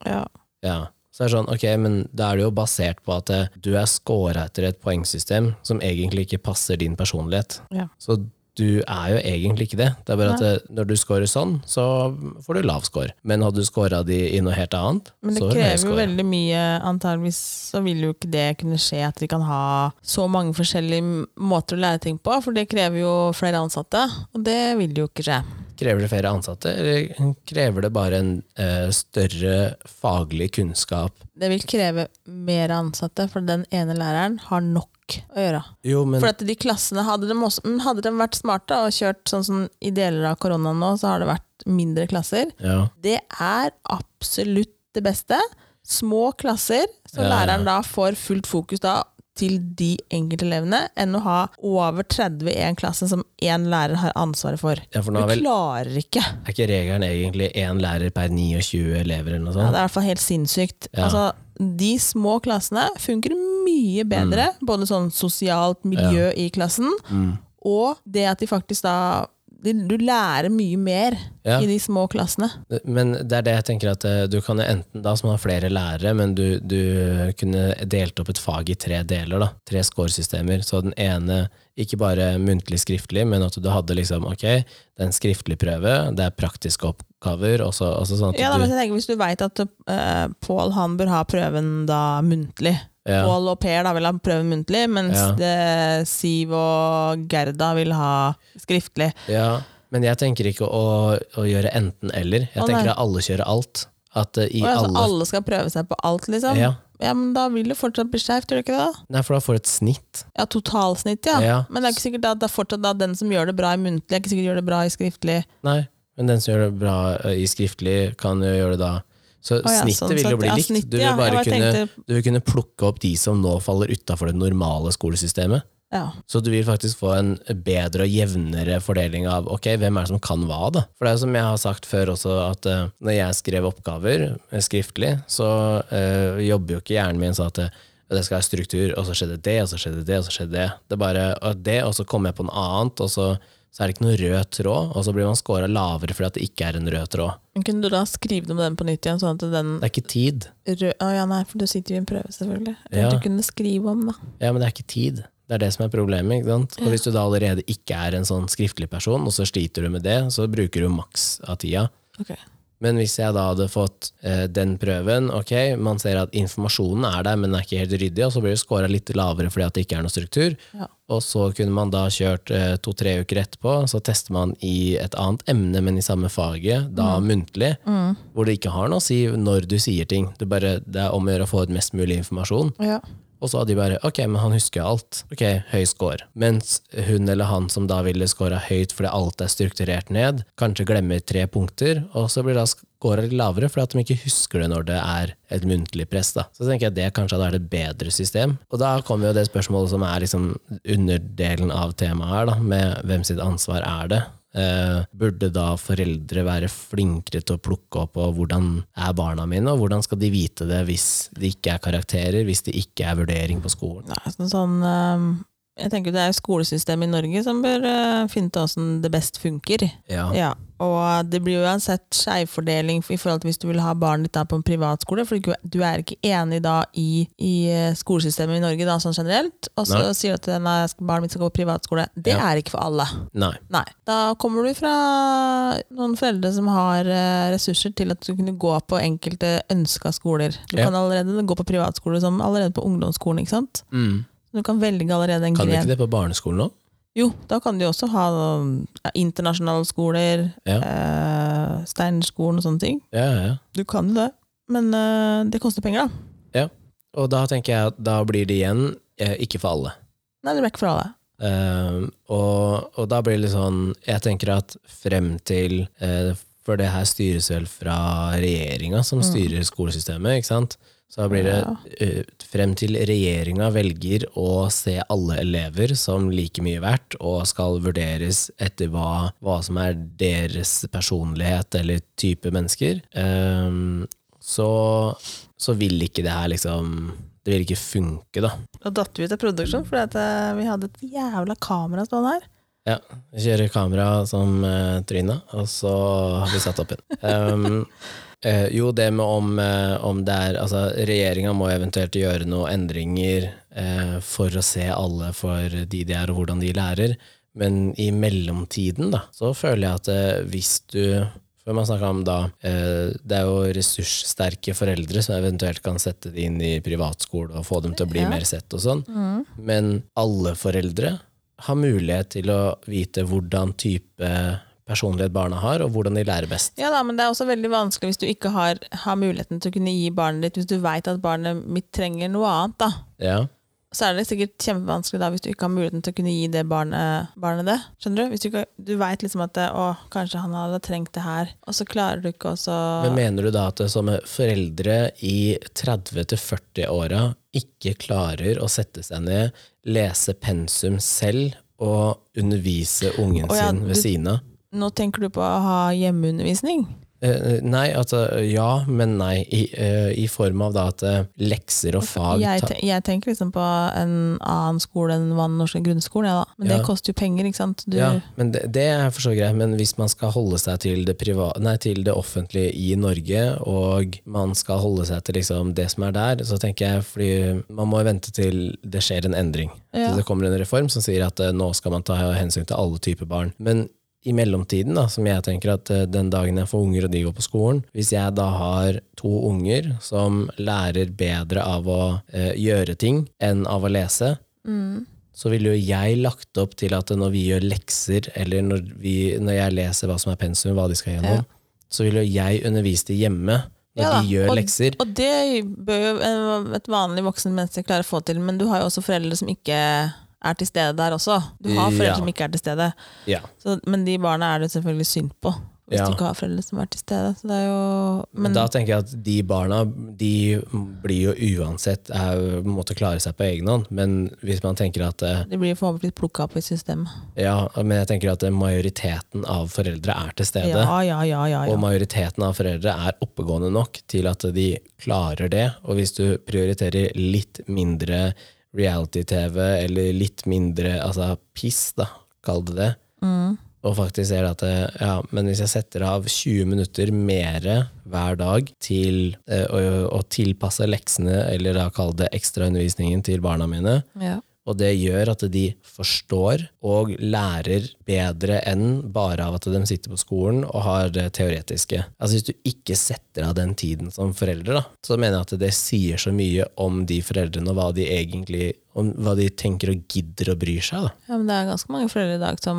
Speaker 2: Ja.
Speaker 1: Ja. Så er det sånn, ok, men da er det jo basert på at eh, du er scora etter et poengsystem som egentlig ikke passer din personlighet.
Speaker 2: Ja.
Speaker 1: Så du er jo egentlig ikke det. Det er bare at eh, når du scorer sånn, så får du lav score. Men hadde du scora de i noe helt annet,
Speaker 2: Men det
Speaker 1: så vil du høy
Speaker 2: krever jo
Speaker 1: score.
Speaker 2: veldig mye. Antageligvis så vil jo ikke det kunne skje at vi kan ha så mange forskjellige m- måter å lære ting på, for det krever jo flere ansatte, og det vil jo ikke skje.
Speaker 1: Krever det flere ansatte, eller krever det bare en eh, større faglig kunnskap?
Speaker 2: Det vil kreve mer ansatte, for den ene læreren har nok å gjøre.
Speaker 1: Jo, men
Speaker 2: For at de klassene, hadde de, også, mm, hadde de vært smarte og kjørt sånn som i deler av koronaen nå, så har det vært mindre klasser.
Speaker 1: ja.
Speaker 2: Det er absolutt det beste. Små klasser, så
Speaker 1: Ja, ja.
Speaker 2: læreren da får fullt fokus da til de enkelte elevene, enn å ha over 30 i en klasse som én lærer har ansvaret for.
Speaker 1: ja, for
Speaker 2: Du
Speaker 1: nå er vel
Speaker 2: klarer ikke.
Speaker 1: er ikke regelen egentlig én lærer per 29 elever eller noe
Speaker 2: Ja,
Speaker 1: sånt?
Speaker 2: det er i hvert fall helt sinnssykt.
Speaker 1: Ja.
Speaker 2: Altså, de små klassene funker mye bedre,
Speaker 1: Mm.
Speaker 2: både sånn sosialt miljø i klassen, og det at de faktisk da de, Du lærer mye mer
Speaker 1: Ja.
Speaker 2: i de små klassene.
Speaker 1: Men det er det jeg tenker at eh, du kan jo enten da, som har flere lærere, men du, du kunne delt opp et fag i tre deler, da. Tre scoresystemer. Så den ene, ikke bare muntlig skriftlig, men at du hadde liksom, ok, det er en skriftlig prøve, det er praktiske oppgaver, og så, og så sånn at
Speaker 2: Ja, da, men
Speaker 1: du
Speaker 2: jeg tenker, Hvis du veit at uh, Pål han bør ha prøven da muntlig
Speaker 1: ja,
Speaker 2: Pål og Per da vil ha prøven muntlig, mens
Speaker 1: Ja.
Speaker 2: det, Siv og Gerda vil ha skriftlig.
Speaker 1: ja, men jeg tenker ikke å, å gjøre enten-eller. Jeg
Speaker 2: Å,
Speaker 1: tenker
Speaker 2: nei.
Speaker 1: at alle kjører alt. At eh, i
Speaker 2: Og altså,
Speaker 1: alle,
Speaker 2: alle skal prøve seg på alt, liksom.
Speaker 1: Ja.
Speaker 2: Ja, men Da vil det fortsatt bli skjevt, gjør det ikke det? da?
Speaker 1: Nei, for da får du et snitt.
Speaker 2: Ja, totalsnitt, ja.
Speaker 1: Ja.
Speaker 2: Men det er ikke sikkert at det er fortsatt da den som gjør det bra i muntlig, er ikke sikkert gjør det bra i skriftlig.
Speaker 1: Nei, men den som gjør det bra eh, i skriftlig, kan jo gjøre det da. Så
Speaker 2: Å ja,
Speaker 1: snittet
Speaker 2: sånn
Speaker 1: vil
Speaker 2: sett.
Speaker 1: jo bli
Speaker 2: Ja,
Speaker 1: likt.
Speaker 2: snittet,
Speaker 1: du, vil
Speaker 2: ja.
Speaker 1: bare
Speaker 2: Jeg bare
Speaker 1: kunne,
Speaker 2: tenkte-
Speaker 1: du vil kunne plukke opp de som nå faller utafor det normale skolesystemet.
Speaker 2: Ja.
Speaker 1: Så du vil faktisk få en bedre og jevnere fordeling av ok, hvem er det som kan hva. da? For det er jo som jeg har sagt før også, at eh, når jeg skrev oppgaver eh, skriftlig, så eh, jobber jo ikke hjernen min sånn at eh, det skal være struktur, og så skjedde det, og så skjedde det, og så skjedde det. Det er bare og det, og så kommer jeg på noe annet, og så, så er det ikke noe rød tråd, og så blir man scora lavere fordi at det ikke er en rød tråd.
Speaker 2: Men kunne du da skrive om den på nytt igjen, sånn at den
Speaker 1: Det er ikke tid.
Speaker 2: røde Å ja, nei, for du sitter jo i en prøve, selvfølgelig. Eller
Speaker 1: Ja.
Speaker 2: du kunne skrive om, da.
Speaker 1: Ja, men det er ikke tid. Det er det som er problemet. ikke sant? Og hvis du da allerede ikke er en sånn skriftlig person, og så sliter du med det, så bruker du maks av tida.
Speaker 2: Ok.
Speaker 1: Men hvis jeg da hadde fått eh, den prøven, ok, man ser at informasjonen er der, men den er ikke helt ryddig, og så blir det scora litt lavere fordi at det ikke er noe struktur.
Speaker 2: Ja.
Speaker 1: Og så kunne man da kjørt eh, to-tre uker etterpå, så tester man i et annet emne, men i samme faget, da muntlig, hvor det ikke har noe å si når du sier ting. Det, er bare, det er om å gjøre å få ut mest mulig informasjon.
Speaker 2: Ja.
Speaker 1: Og så hadde de bare ok, men han husker jo alt. Ok, høy score. Mens hun eller han som da ville scora høyt fordi alt er strukturert ned, kanskje glemmer tre punkter, og så blir da scora litt lavere fordi at de ikke husker det når det er et muntlig press. da. Så tenker jeg det kanskje hadde vært et bedre system. Og da kommer jo det spørsmålet som er liksom underdelen av temaet her, da, med hvem sitt ansvar er det? Eh, burde da foreldre være flinkere til å plukke opp og hvordan er barna mine, og hvordan skal de vite det hvis det ikke er karakterer, hvis det ikke er vurdering på skolen?
Speaker 2: Nei, sånn, sånn ehm, Jeg tenker det er skolesystemet i Norge som bør eh, finne ut åssen det best funker.
Speaker 1: Ja,
Speaker 2: Ja, og eh, det blir jo uansett skjevfordeling i forhold til hvis du vil ha barnet ditt da på en privatskole, for du du er ikke enig da i, i eh, skolesystemet i Norge da, sånn generelt, og så
Speaker 1: Nei.
Speaker 2: sier du at nei, jeg skal- barnet mitt skal gå på privatskole. Det
Speaker 1: Ja.
Speaker 2: er ikke for alle.
Speaker 1: Nei.
Speaker 2: Nei. Da kommer du fra noen foreldre som har eh, ressurser til at du kunne gå på enkelte ønska skoler. Du
Speaker 1: Ja.
Speaker 2: kan allerede gå på privatskole som allerede på ungdomsskolen, ikke sant? Du kan velge allerede en
Speaker 1: Mm. Kan de
Speaker 2: gren.
Speaker 1: ikke det på barneskolen òg?
Speaker 2: Jo, da kan du jo også ha um, ja, internasjonale skoler,
Speaker 1: Ja.
Speaker 2: eh, Steinerskolen og sånne ting.
Speaker 1: Ja, ja, ja.
Speaker 2: Du kan jo det, men eh, det koster penger, da.
Speaker 1: Og da tenker jeg at da blir det igjen eh, ikke for alle.
Speaker 2: Nei, det blir ikke for alle.
Speaker 1: Eh, og, og da blir det litt sånn Jeg tenker at frem til eh, For det her styres vel fra regjeringa, som styrer skolesystemet, ikke sant? Så da blir det
Speaker 2: Ja.
Speaker 1: eh, frem til regjeringa velger å se alle elever som like mye verdt, og skal vurderes etter hva, hva som er deres personlighet eller type mennesker, eh, så, så vil ikke det her liksom Det vil ikke funke, da.
Speaker 2: Da datt vi ut av produksjon fordi at, eh, vi hadde et jævla kamera stående her.
Speaker 1: Ja, vi kjører kamera som uh, tryna, og så har vi satt opp en. Um, eh, jo, det med om, eh, om det er Altså, regjeringa må eventuelt gjøre noen endringer eh, for å se alle for de de er, og hvordan de lærer. Men i mellomtiden, da, så føler jeg at eh, hvis du for man snakket om da, eh, Det er jo ressurssterke foreldre som eventuelt kan sette de inn i privatskole og få dem til å bli
Speaker 2: Ja.
Speaker 1: mer sett og sånn. Men alle foreldre har mulighet til å vite hvordan type personlighet barna har, og hvordan de lærer best.
Speaker 2: Ja da, men det er også veldig vanskelig hvis du ikke har, har muligheten til å kunne gi barnet ditt, hvis du veit at barnet mitt trenger noe annet, da.
Speaker 1: Ja,
Speaker 2: Så er det sikkert kjempevanskelig da hvis du ikke har muligheten til å kunne gi det barnet, barnet det. Skjønner du? Hvis du, ikke, du vet liksom at det, å, kanskje han hadde trengt det her, og så klarer du ikke også
Speaker 1: Men mener du da at det som foreldre i 30-40-åra ikke klarer å sette seg ned, lese pensum selv og undervise ungen
Speaker 2: Å ja,
Speaker 1: sin ved
Speaker 2: du-
Speaker 1: siden av?
Speaker 2: Nå tenker du på å ha hjemmeundervisning?
Speaker 1: Eh, nei, altså ja, men nei. I, eh, i form av da at eh, lekser og fag
Speaker 2: Jeg,
Speaker 1: ta-
Speaker 2: te, jeg tenker liksom på en annen skole enn den norske grunnskolen, jeg da. Men det
Speaker 1: Ja.
Speaker 2: koster jo penger, ikke sant? Altså, Du,
Speaker 1: ja, men det, det er for så greit, men hvis man skal holde seg til det, priva, nei, til det offentlige i Norge, og man skal holde seg til liksom det som er der, så tenker jeg fordi man må vente til det skjer en endring.
Speaker 2: Ja.
Speaker 1: Så det kommer en reform som sier at eh, nå skal man ta hensyn til alle typer barn. Men i mellomtiden, da, som jeg tenker at eh, den dagen jeg får unger og de går på skolen, hvis jeg da har to unger som lærer bedre av å eh, gjøre ting enn av å lese, så ville jo jeg lagt opp til at når vi gjør lekser, eller når, vi, når jeg leser hva som er pensum, hva de skal gjennom,
Speaker 2: Ja.
Speaker 1: så ville jo jeg undervist de hjemme når
Speaker 2: Ja da,
Speaker 1: de gjør
Speaker 2: og-
Speaker 1: lekser.
Speaker 2: Og det bør jo en- et vanlig voksen menneske klare å få til, men du har jo også foreldre som ikke er til stede der også. Du har foreldre
Speaker 1: Ja.
Speaker 2: som ikke er til stede.
Speaker 1: Ja.
Speaker 2: Så, men de barna er det selvfølgelig synd på, hvis
Speaker 1: Ja.
Speaker 2: du ikke har foreldre som er til stede. Så det er jo, men,
Speaker 1: da tenker jeg at de barna de blir jo uansett er, måtte klare seg på egen hånd. Men hvis man tenker at eh,
Speaker 2: de blir forhåpentligvis plukka opp i systemet.
Speaker 1: ja, men jeg tenker at eh, majoriteten av foreldre er til stede,
Speaker 2: Ja, ja, ja, ja,
Speaker 1: og
Speaker 2: ja.
Speaker 1: majoriteten av foreldre er oppegående nok til at de klarer det. Og hvis du prioriterer litt mindre reality-TV eller litt mindre altså piss, da, kall det det,
Speaker 2: Mm.
Speaker 1: og faktisk ser at eh, ja, men hvis jeg setter av 20 minutter mer hver dag til eh, å, å tilpasse leksene, eller da kall det ekstraundervisningen til barna mine,
Speaker 2: ja.
Speaker 1: og det gjør at de forstår og lærer bedre enn bare av at de sitter på skolen og har det teoretiske. Altså Hvis du ikke setter av den tiden som foreldre, da, så mener jeg at det sier så mye om de foreldrene og hva de egentlig om hva de tenker og gidder og bryr seg. da.
Speaker 2: Ja, men det er ganske mange foreldre i dag som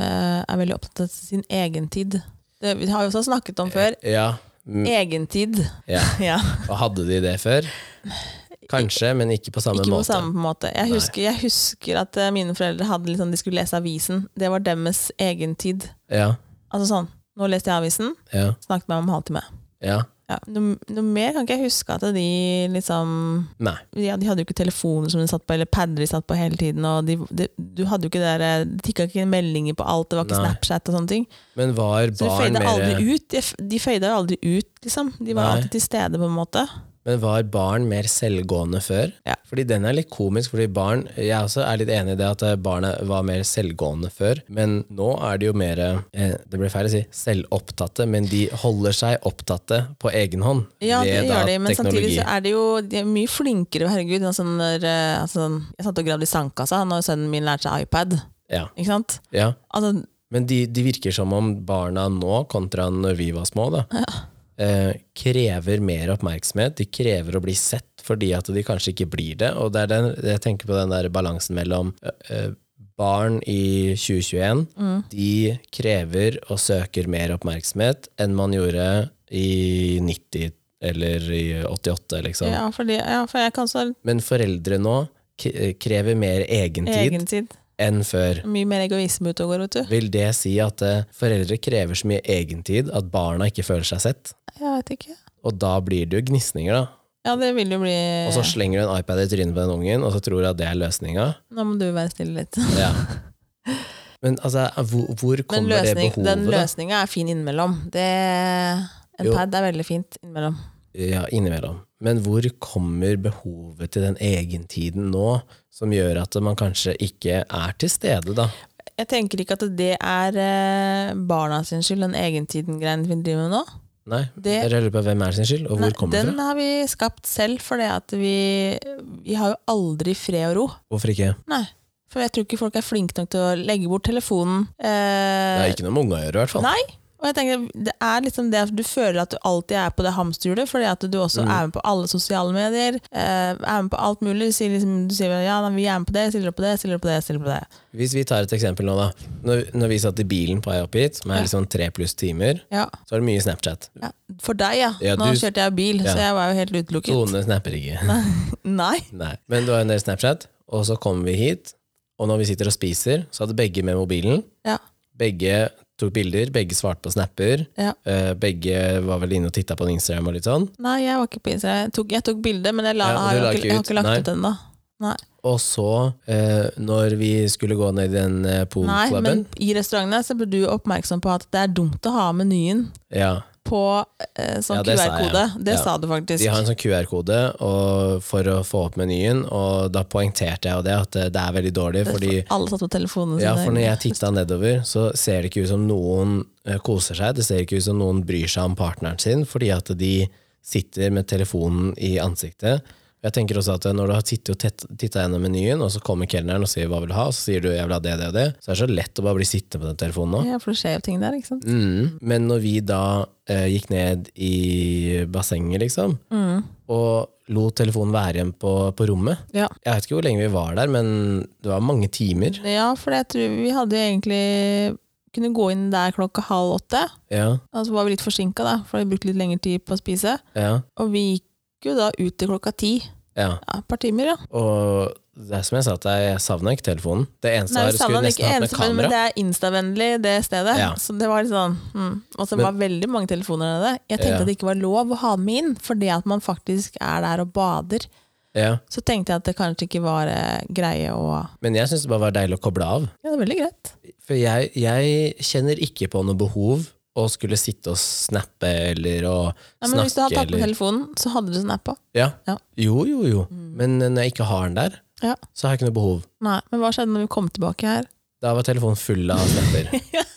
Speaker 2: eh, er veldig opptatt av sin egen tid. Det vi har jo også
Speaker 1: Eh,
Speaker 2: snakket om før.
Speaker 1: Ja, mm,
Speaker 2: Egentid.
Speaker 1: ja.
Speaker 2: Ja.
Speaker 1: Og hadde de det før? Kanskje, men ikke på samme
Speaker 2: Ikke på
Speaker 1: måte.
Speaker 2: samme måte. Jeg
Speaker 1: Nei.
Speaker 2: husker, jeg husker at eh, mine foreldre hadde litt sånn, de skulle lese avisen. Det var deres egen tid.
Speaker 1: Ja,
Speaker 2: Altså sånn, nå leste jeg avisen,
Speaker 1: ja,
Speaker 2: snakket med meg om en halvtime.
Speaker 1: ja.
Speaker 2: Ja. Noe, noe mer kan ikke jeg huske at de liksom
Speaker 1: Nei.
Speaker 2: ja, De hadde jo ikke telefoner som de satt på, eller pader de satt på hele tiden. Og de, de, du hadde jo ikke det der, det tikka ikke meldinger på alt, det var ikke
Speaker 1: Nei.
Speaker 2: Snapchat og sånne ting.
Speaker 1: Men var
Speaker 2: Så de
Speaker 1: barn
Speaker 2: føyde
Speaker 1: mer eh,
Speaker 2: aldri ut. De, f- de føyde jo aldri ut, liksom. De var
Speaker 1: Nei.
Speaker 2: alltid til stede, på en måte.
Speaker 1: Men var barn mer selvgående før?
Speaker 2: Ja.
Speaker 1: Fordi den er litt komisk, fordi barn Jeg også er litt enig i det at eh, barnet var mer selvgående før, men nå er de jo mer eh, Det blir feil å si selvopptatte, men de holder seg opptatte på egen hånd
Speaker 2: Ja, det,
Speaker 1: da
Speaker 2: gjør de, men
Speaker 1: teknologi.
Speaker 2: samtidig så er det jo de er mye flinkere. Herregud, altså når, eh, altså, jeg satt og gravde i sandkassa når sønnen min lærte seg iPad.
Speaker 1: Ja,
Speaker 2: Ikke sant?
Speaker 1: ja.
Speaker 2: Altså,
Speaker 1: Men de, de virker som om barna nå, kontra når vi var små, da, eh, krever mer oppmerksomhet. De krever å bli sett fordi at de kanskje ikke blir det. Og det er den, jeg tenker på den der balansen mellom eh, eh, barn i 2021,
Speaker 2: Mm.
Speaker 1: de krever og søker mer oppmerksomhet enn man gjorde i 90 eller i 88, liksom.
Speaker 2: ja, fordi, ja, for jeg kan så
Speaker 1: Men foreldre nå k- krever mer egentid
Speaker 2: egen tid.
Speaker 1: enn før.
Speaker 2: Mye mer egoisme ute og går, vet du.
Speaker 1: Vil det si at eh, foreldre krever så mye egentid at barna ikke føler seg sett?
Speaker 2: Jeg vet ikke.
Speaker 1: Og da blir det jo gnisninger, da.
Speaker 2: Ja, det vil jo bli
Speaker 1: Og så slenger du en iPad i trynet på den ungen, og så tror du at det er løsninga.
Speaker 2: Nå må du være stille litt.
Speaker 1: Ja. Men altså, hvor, hvor
Speaker 2: Men
Speaker 1: kommer det
Speaker 2: løsning, den
Speaker 1: behovet, da?
Speaker 2: løsninga er fin innimellom. Det, en
Speaker 1: Jo.
Speaker 2: pad er veldig fint innimellom.
Speaker 1: Ja, innimellom. Men hvor kommer behovet til den egentiden nå, som gjør at man kanskje ikke er til stede, da?
Speaker 2: Jeg tenker ikke at det er eh, barna sin skyld, den egentiden-greien vi driver med nå.
Speaker 1: Nei,
Speaker 2: Det-
Speaker 1: jeg lurer på hvem er sin skyld, og hvor
Speaker 2: Nei,
Speaker 1: kommer
Speaker 2: den
Speaker 1: det fra?
Speaker 2: har vi skapt selv, for det at vi, vi har jo aldri fred og ro.
Speaker 1: Hvorfor ikke?
Speaker 2: Nei. For jeg tror ikke folk er flinke nok til å legge bort telefonen.
Speaker 1: Det
Speaker 2: Eh,
Speaker 1: er ikke noe med unga å gjøre, i hvert fall.
Speaker 2: Nei. Og jeg tenker, det er liksom det at du føler at du alltid er på det hamsterhjulet, fordi at du også
Speaker 1: Mm.
Speaker 2: er med på alle sosiale medier. Eh, er med på alt mulig. Du sier liksom, du sier, ja, nei, vi er med på det, stiller opp på det, stiller opp på det. stiller opp på det.
Speaker 1: Hvis vi tar et eksempel nå, da. Når, når vi satt i bilen på vei opp hit, som er liksom tre pluss timer,
Speaker 2: Ja.
Speaker 1: så er det mye Snapchat.
Speaker 2: ja. For deg, ja.
Speaker 1: Ja,
Speaker 2: Nå
Speaker 1: du-
Speaker 2: kjørte jeg bil,
Speaker 1: Ja.
Speaker 2: så jeg var jo helt utelukket.
Speaker 1: Tone snapper ikke.
Speaker 2: Nei.
Speaker 1: Nei. Men det var en del Snapchat, og så kommer vi hit, og når vi sitter og spiser, så hadde begge med mobilen.
Speaker 2: Ja.
Speaker 1: Begge tok bilder, begge svarte på snapper,
Speaker 2: Ja.
Speaker 1: eh, begge var vel inne og titta på en Instagram og litt sånn.
Speaker 2: Nei, jeg var ikke på Instagram. Jeg tok, jeg tok bilde, men jeg, la,
Speaker 1: Ja, og
Speaker 2: har,
Speaker 1: du
Speaker 2: jo
Speaker 1: la
Speaker 2: ikke,
Speaker 1: ikke
Speaker 2: jeg har
Speaker 1: ut.
Speaker 2: ikke lagt
Speaker 1: Nei.
Speaker 2: ut ennå. Nei.
Speaker 1: Og så, eh, når vi skulle gå ned i den eh,
Speaker 2: Nei, men
Speaker 1: poolklubben
Speaker 2: i restaurantene så blir du oppmerksom på at det er dumt å ha menyen
Speaker 1: ja,
Speaker 2: på eh, sånn
Speaker 1: Ja, det sa jeg.
Speaker 2: QR-kode. Det
Speaker 1: Ja.
Speaker 2: sa du faktisk.
Speaker 1: De har en sånn QR-kode og- for å få opp menyen, og da poengterte jeg jo det, at eh, det er veldig dårlig, fordi
Speaker 2: Alle satt på telefonene
Speaker 1: Ja, for når jeg titta nedover, så ser det ikke ut som noen eh, koser seg. Det ser ikke ut som noen bryr seg om partneren sin, fordi at de sitter med telefonen i ansiktet. Jeg tenker også at eh, Når du har sittet og tett- titta gjennom menyen, og så kommer kelneren og sier hva vil du ha, og så sier du jeg vil ha det, det og det, så er det så lett å bare bli sittende på den telefonen nå.
Speaker 2: Ja, for det skjer jo ting der, ikke sant?
Speaker 1: Mm. Men når vi da eh, gikk ned i bassenget, liksom, og lot telefonen være igjen på, på rommet
Speaker 2: Ja.
Speaker 1: Jeg vet ikke hvor lenge vi var der, men det var mange timer.
Speaker 2: ja, for jeg tror vi hadde jo egentlig kunne gå inn der klokka halv åtte.
Speaker 1: Ja,
Speaker 2: Og så var vi litt forsinka, da, for vi brukte litt lengre tid på å spise.
Speaker 1: ja,
Speaker 2: Og vi gikk jo da ut til klokka ti.
Speaker 1: ja.
Speaker 2: Ja, et par timer, ja.
Speaker 1: Og det er som jeg sa til deg, jeg savna ikke telefonen. Det eneste
Speaker 2: Nei,
Speaker 1: var
Speaker 2: vi
Speaker 1: jeg
Speaker 2: savna
Speaker 1: skulle
Speaker 2: den
Speaker 1: nesten
Speaker 2: ikke
Speaker 1: hatt med
Speaker 2: eneste, men, men
Speaker 1: kamera.
Speaker 2: det er instavennlig, det stedet.
Speaker 1: Ja.
Speaker 2: Så det var litt sånn mm. Og så
Speaker 1: Men-
Speaker 2: var veldig mange telefoner nede. Jeg tenkte
Speaker 1: Ja.
Speaker 2: at det ikke var lov å ha dem inn, fordi at man faktisk er der og bader.
Speaker 1: Ja.
Speaker 2: Så tenkte jeg at det kanskje ikke var eh, greie å
Speaker 1: Men jeg syns det bare var deilig å koble av.
Speaker 2: Ja, det er veldig greit.
Speaker 1: For jeg, jeg kjenner ikke på noe behov å skulle sitte og snappe eller å
Speaker 2: Nei, men hvis du
Speaker 1: snakke
Speaker 2: hadde tatt med
Speaker 1: eller
Speaker 2: telefonen, så hadde du sånn snappa.
Speaker 1: ja.
Speaker 2: Ja. Mm.
Speaker 1: Jo, jo, jo. Men når jeg ikke har den der,
Speaker 2: Ja.
Speaker 1: så har jeg ikke noe behov.
Speaker 2: Nei, men hva skjedde når vi kom tilbake her?
Speaker 1: Da var telefonen full av snapper.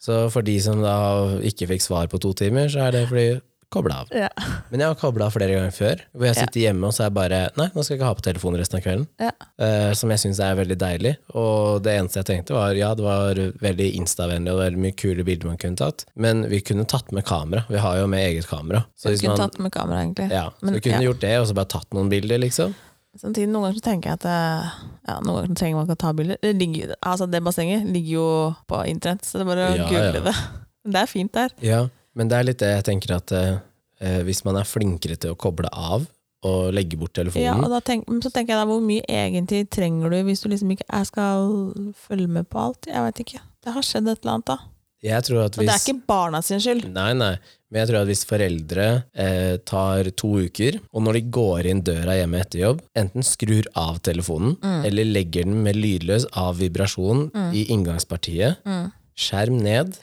Speaker 1: Så for de som da ikke fikk svar på to timer, så er det fordi kobla av.
Speaker 2: Ja.
Speaker 1: Men jeg har kobla av flere ganger før, hvor jeg
Speaker 2: Ja.
Speaker 1: sitter hjemme og så er jeg bare Nei, nå skal jeg ikke ha på telefonen resten av kvelden.
Speaker 2: Ja.
Speaker 1: eh, som jeg syns er veldig deilig. Og det eneste jeg tenkte var ja, det var veldig instavennlig og veldig mye kule bilder man kunne tatt, men vi kunne tatt med kamera. Vi har jo med eget kamera. Så
Speaker 2: Så
Speaker 1: hvis
Speaker 2: skulle
Speaker 1: man,
Speaker 2: tatt med kamera, egentlig.
Speaker 1: ja, så
Speaker 2: Men,
Speaker 1: vi kunne
Speaker 2: ja.
Speaker 1: gjort det, og så bare tatt noen bilder, liksom.
Speaker 2: Samtidig, noen ganger så tenker jeg at eh, ja, noen ganger så trenger man ikke å ta bilder. Det, ligger, altså, det bassenget ligger jo på internett, så det er bare
Speaker 1: Ja,
Speaker 2: å
Speaker 1: ja.
Speaker 2: google det. Men det er fint der.
Speaker 1: Ja, men det er litt det jeg tenker at eh, eh, hvis man er flinkere til å koble av å legge bort
Speaker 2: Ja,
Speaker 1: telefonen.
Speaker 2: og da tenk, men så tenker jeg da, hvor mye egentlig trenger du hvis du liksom ikke jeg skal følge med på alt? Jeg vet ikke. Det har skjedd et eller annet, da.
Speaker 1: Jeg tror at
Speaker 2: Og det er
Speaker 1: hvis
Speaker 2: ikke barna sin skyld.
Speaker 1: Nei, nei. Men jeg tror at hvis foreldre eh, tar to uker, og når de går inn døra hjemme etter jobb, enten skrur av telefonen,
Speaker 2: Mm.
Speaker 1: eller legger den med lydløs av vibrasjon i inngangspartiet,
Speaker 2: Mm.
Speaker 1: skjerm ned,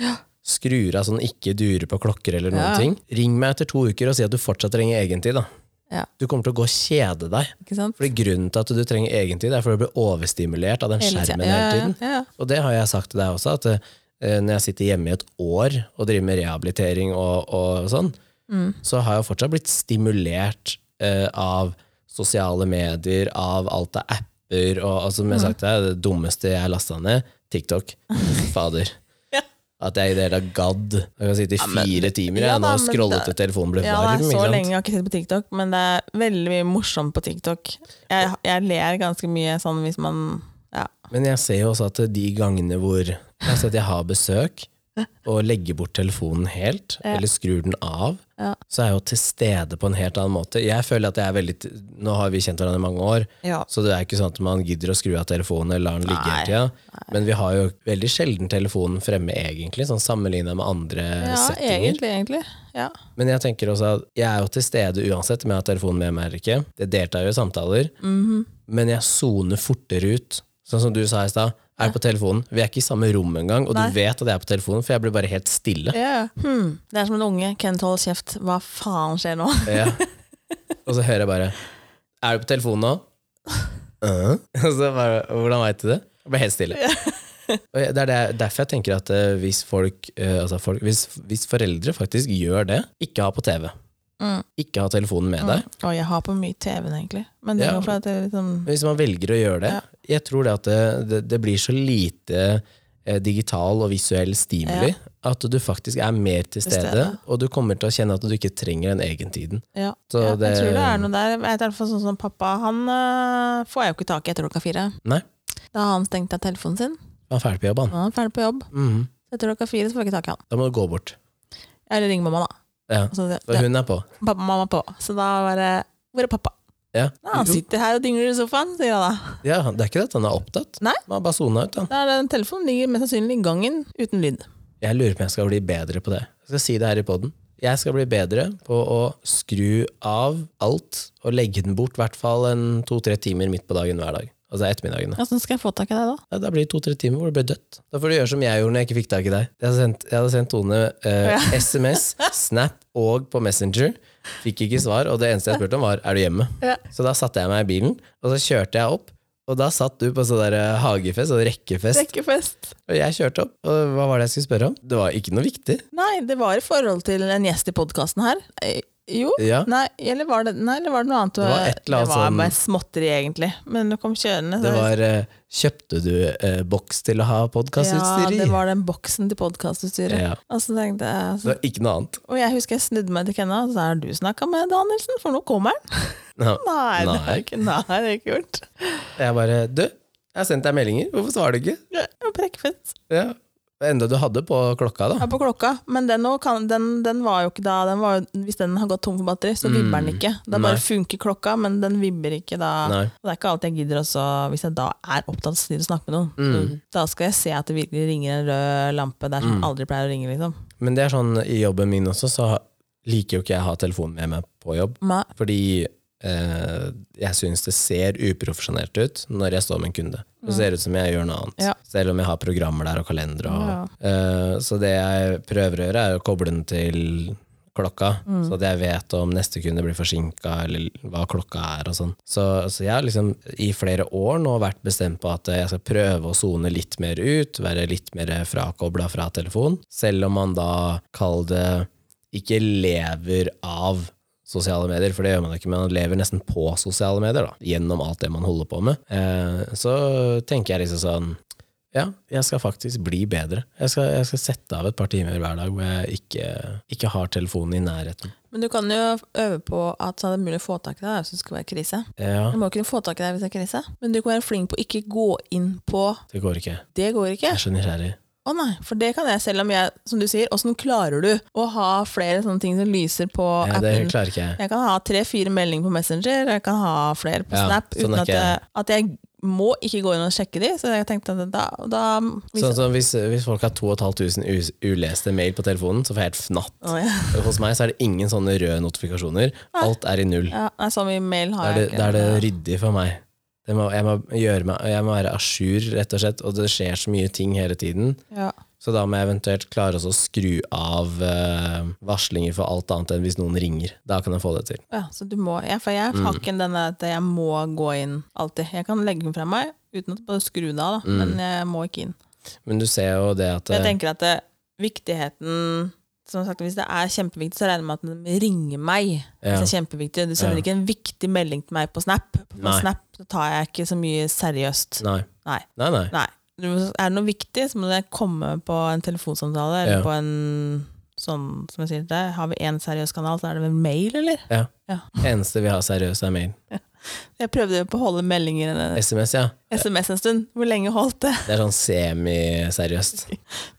Speaker 1: skrur av sånn ikke durer på klokker eller noen
Speaker 2: Ja.
Speaker 1: ting, ring meg etter to uker og si at du fortsatt trenger egentid, da.
Speaker 2: Ja.
Speaker 1: Du kommer til å gå og kjede deg.
Speaker 2: Ikke sant?
Speaker 1: Fordi grunnen til at du trenger egentid, er fordi du blir overstimulert av den
Speaker 2: Hele tiden.
Speaker 1: skjermen
Speaker 2: Ja,
Speaker 1: hele
Speaker 2: ja,
Speaker 1: tiden.
Speaker 2: Ja, ja.
Speaker 1: Og det har jeg sagt til deg også, at eh, når jeg sitter hjemme i et år og driver med rehabilitering og, og sånn,
Speaker 2: Mm.
Speaker 1: så har jeg fortsatt blitt stimulert eh, av sosiale medier, av alt av apper, og altså,
Speaker 2: Mm.
Speaker 1: som jeg har sagt til deg, det dummeste jeg lasta ned, TikTok. Fader.
Speaker 2: Ja.
Speaker 1: At jeg i det hele tatt gadd. Jeg kan sitte i
Speaker 2: men-
Speaker 1: fire timer
Speaker 2: Ja
Speaker 1: jeg, nå
Speaker 2: da,
Speaker 1: og
Speaker 2: men
Speaker 1: scrolle
Speaker 2: det-
Speaker 1: til telefonen ble
Speaker 2: Ja,
Speaker 1: varm.
Speaker 2: det er
Speaker 1: ikke
Speaker 2: så
Speaker 1: sant?
Speaker 2: lenge jeg har ikke sett på TikTok, men det er veldig mye morsomt på TikTok. Jeg, jeg ler ganske mye sånn hvis man ja.
Speaker 1: Men jeg ser jo også at de gangene hvor altså at jeg har besøk, og legger bort telefonen helt, eller skrur den av,
Speaker 2: Ja.
Speaker 1: så er jeg jo til stede på en helt annen måte. Jeg føler at jeg er veldig t- Nå har vi kjent hverandre i mange år,
Speaker 2: Ja.
Speaker 1: så det er ikke sånn at man gidder å skru av telefonen eller lar den ligge hele tida. Men vi har jo veldig sjelden telefonen fremme, egentlig, sånn sammenligna med andre
Speaker 2: ja,
Speaker 1: settinger.
Speaker 2: egentlig, egentlig. Ja.
Speaker 1: Men jeg tenker også at jeg er jo til stede uansett om jeg har telefonen med meg eller ikke. Jeg deltar jo i samtaler, men jeg soner fortere ut. Sånn som du sa i stad, er på telefonen. Vi er ikke i samme rom engang, og
Speaker 2: Nei.
Speaker 1: du vet at jeg er på telefonen, for jeg blir bare helt stille.
Speaker 2: Ja. Hmm. Det er som en unge. Kent, hold kjeft. Hva faen skjer nå?
Speaker 1: Ja. Og så hører jeg bare Er du på telefonen nå? «Øh». Og så bare Hvordan veit du det? Jeg ble helt stille. Og jeg- Det er det, derfor jeg tenker at eh, hvis folk, eh, altså folk hvis, hvis foreldre faktisk gjør det, ikke ha på TV.
Speaker 2: Mm.
Speaker 1: Ikke ha telefonen med deg.
Speaker 2: Å, jeg har på mye TV-en, egentlig. Men det
Speaker 1: Ja.
Speaker 2: er jo for at det er
Speaker 1: Men
Speaker 2: liksom
Speaker 1: Hvis man velger å gjøre det Jeg tror det at det, det, det blir så lite eh, digital og visuell stimuli at du faktisk er mer til
Speaker 2: Til stede.
Speaker 1: stede, og du kommer til å kjenne at du ikke trenger den egentiden.
Speaker 2: ja.
Speaker 1: Så
Speaker 2: ja,
Speaker 1: det-
Speaker 2: Jeg tror det er noe der. Jeg vet, i hvert fall sånn som pappa, han øh, får jeg jo ikke tak i etter klokka fire.
Speaker 1: Nei,
Speaker 2: Da har han stengt av telefonen sin.
Speaker 1: man er ferdig på jobb, han.
Speaker 2: Nå er han ferdig på jobb.
Speaker 1: Mhm.
Speaker 2: Etter klokka fire så får jeg ikke tak i han.
Speaker 1: Da må du gå bort.
Speaker 2: Eller ringe mamma, da.
Speaker 1: Ja.
Speaker 2: Og så,
Speaker 1: Og hun er på.
Speaker 2: pappa og mamma på. Så da bare Hvor er pappa?
Speaker 1: Ja.
Speaker 2: Nei, han sitter her og dingler i sofaen, sier jeg da.
Speaker 1: ja, det er ikke det at han er opptatt.
Speaker 2: Nei.
Speaker 1: Man har bare sona ut, han.
Speaker 2: Da er den telefonen ligger mest sannsynlig i gangen uten lyd.
Speaker 1: Jeg lurer på om jeg skal bli bedre på det. Jeg skal si det her i poden. Jeg skal bli bedre på å skru av alt og legge den bort i hvert fall en to-tre timer midt på dagen hver dag. Altså ettermiddagene.
Speaker 2: Åssen skal jeg få tak i deg da?
Speaker 1: Nei, da blir det to-tre timer hvor det blir dødt. Da får du gjøre som jeg gjorde når jeg ikke fikk tak i deg. Jeg hadde sendt, jeg hadde sendt Tone eh,
Speaker 2: Ja.
Speaker 1: SMS, Snap og på Messenger. Fikk ikke svar, og det eneste jeg spurte om, var er du hjemme.
Speaker 2: Ja.
Speaker 1: Så da satte jeg meg i bilen, og så kjørte jeg opp. Og da satt du på sånn der eh, hagefest og rekkefest,
Speaker 2: Rekkefest.
Speaker 1: og jeg kjørte opp. Og hva var det jeg skulle spørre om? Det var ikke noe viktig.
Speaker 2: Nei, det var i forhold til en gjest i podkasten her. Eh, Jo.
Speaker 1: Ja.
Speaker 2: Nei eller, var det, nei, eller var det noe annet?
Speaker 1: Det var et eller annet
Speaker 2: Det var
Speaker 1: sånn-
Speaker 2: bare småtteri, egentlig. Men det kom kjørende. så-
Speaker 1: Det var eh, Kjøpte du eh, boks til å ha
Speaker 2: ja,
Speaker 1: podkastutstyr i?
Speaker 2: det var den boksen til podkastutstyret.
Speaker 1: Ja.
Speaker 2: Og så tenkte jeg
Speaker 1: Det
Speaker 2: altså,
Speaker 1: var ikke noe annet.
Speaker 2: Og jeg husker jeg snudde meg til Kenna, og så har du snakka med Danielsen, for nå kommer han.
Speaker 1: Nå,
Speaker 2: Nei, det har
Speaker 1: Nei.
Speaker 2: jeg ikke, nei, det har jeg ikke gjort.
Speaker 1: Jeg bare Du, jeg har sendt deg meldinger. Hvorfor svarer du ikke?
Speaker 2: Ja, på rekkefest.
Speaker 1: Ja. Enda du hadde på klokka, da.
Speaker 2: Ja, på klokka. Men den, nå kan, den, den var jo ikke da den var, jo- Hvis den har gått tom for batteri, så vibber den ikke. Da
Speaker 1: Mm, Nei.
Speaker 2: bare funker klokka, men den vibber ikke da.
Speaker 1: Nei.
Speaker 2: Og det er ikke alltid jeg gidder også, hvis jeg da er opptatt av å snakke med noen.
Speaker 1: Mm.
Speaker 2: Da skal jeg se at det virkelig ringer en rød lampe
Speaker 1: Mm.
Speaker 2: der som aldri pleier å ringe, liksom.
Speaker 1: Men det er sånn i jobben min også, så liker jo ikke jeg å ha telefonen med meg på jobb.
Speaker 2: Nei.
Speaker 1: Fordi eh, jeg syns det ser uprofesjonelt ut når jeg står med en kunde. Det ser ut som jeg gjør noe annet.
Speaker 2: Mm. Ja.
Speaker 1: Selv om jeg har programmer der og kalendere. Og,
Speaker 2: Ja.
Speaker 1: Eh, så det jeg prøver å gjøre, er å koble den til klokka, så at jeg vet om neste kunde blir forsinka, eller hva klokka er og sånn. Så, så jeg har liksom i flere år nå vært bestemt på at jeg skal prøve å sone litt mer ut, være litt mer frakobla fra telefon, selv om man da kaller det ikke lever av sosiale medier, for det gjør man ikke, men man lever nesten på sosiale medier, da, gjennom alt det man holder på med. Eh, så tenker jeg liksom sånn ja, jeg skal faktisk bli bedre. Jeg skal, jeg skal sette av et par timer hver dag hvor jeg ikke, ikke har telefonen i nærheten.
Speaker 2: Men du kan jo øve på at så er det mulig å få tak i deg hvis det skal være krise.
Speaker 1: Ja,
Speaker 2: Du må kunne få tak i deg hvis det er krise, men du kan være flink på å ikke gå inn på
Speaker 1: det går ikke.
Speaker 2: Det går ikke.
Speaker 1: Jeg er så nysgjerrig.
Speaker 2: Å nei, for det kan jeg, selv om jeg, som du sier, åssen klarer du å ha flere sånne ting som lyser på
Speaker 1: Ja, det
Speaker 2: appen?
Speaker 1: klarer ikke jeg.
Speaker 2: Jeg kan ha tre-fire meldinger på Messenger, jeg kan ha flere på
Speaker 1: Ja,
Speaker 2: Snap,
Speaker 1: sånn
Speaker 2: uten
Speaker 1: er
Speaker 2: at
Speaker 1: ikke
Speaker 2: jeg,
Speaker 1: jeg.
Speaker 2: at jeg må ikke gå inn og sjekke de, så jeg tenkte at da, da hvis-
Speaker 1: Sånn som hvis, hvis folk har 2500 us- uleste mail på telefonen, så får jeg helt fnatt.
Speaker 2: Å, ja.
Speaker 1: Hos meg så er det ingen sånne røde notifikasjoner. Alt er i null.
Speaker 2: Ja, nei, så mye mail
Speaker 1: Da
Speaker 2: har
Speaker 1: er det,
Speaker 2: jeg ikke.
Speaker 1: da er det ryddig for meg. Det må, jeg, må gjøre meg, jeg må være à jour, rett og slett, og det skjer så mye ting hele tiden.
Speaker 2: Ja.
Speaker 1: Så da må jeg eventuelt klare også å skru av eh, varslinger for alt annet enn hvis noen ringer. Da kan jeg få det til.
Speaker 2: Ja, så du må, ja, for
Speaker 1: Mm.
Speaker 2: jeg har ikke den der at jeg må gå inn alltid. Jeg kan legge den fra meg uten at bare skru den av, da. men jeg må ikke inn.
Speaker 1: Men du ser jo Mm. det at
Speaker 2: For jeg
Speaker 1: eh,
Speaker 2: tenker at det, viktigheten som sagt, Hvis det er kjempeviktig, så regner jeg med at den ringer meg. Hvis det er kjempeviktig Du sender
Speaker 1: Ja.
Speaker 2: ikke en viktig melding til meg på Snap. På
Speaker 1: Nei.
Speaker 2: Snap så tar jeg ikke så mye seriøst.
Speaker 1: Nei.
Speaker 2: Nei.
Speaker 1: Nei, nei.
Speaker 2: Nei. Du- Er det noe viktig, så må det komme på en telefonsamtale eller
Speaker 1: Ja.
Speaker 2: på en sånn som jeg sier til deg. Har vi én seriøs kanal, så er det vel mail, eller?
Speaker 1: Ja.
Speaker 2: Ja.
Speaker 1: Det eneste vi har seriøst, er mail.
Speaker 2: Jeg prøvde jo på å holde meldinger
Speaker 1: SMS, ja.
Speaker 2: SMS en stund. Hvor lenge holdt det?
Speaker 1: Det er sånn semi-seriøst.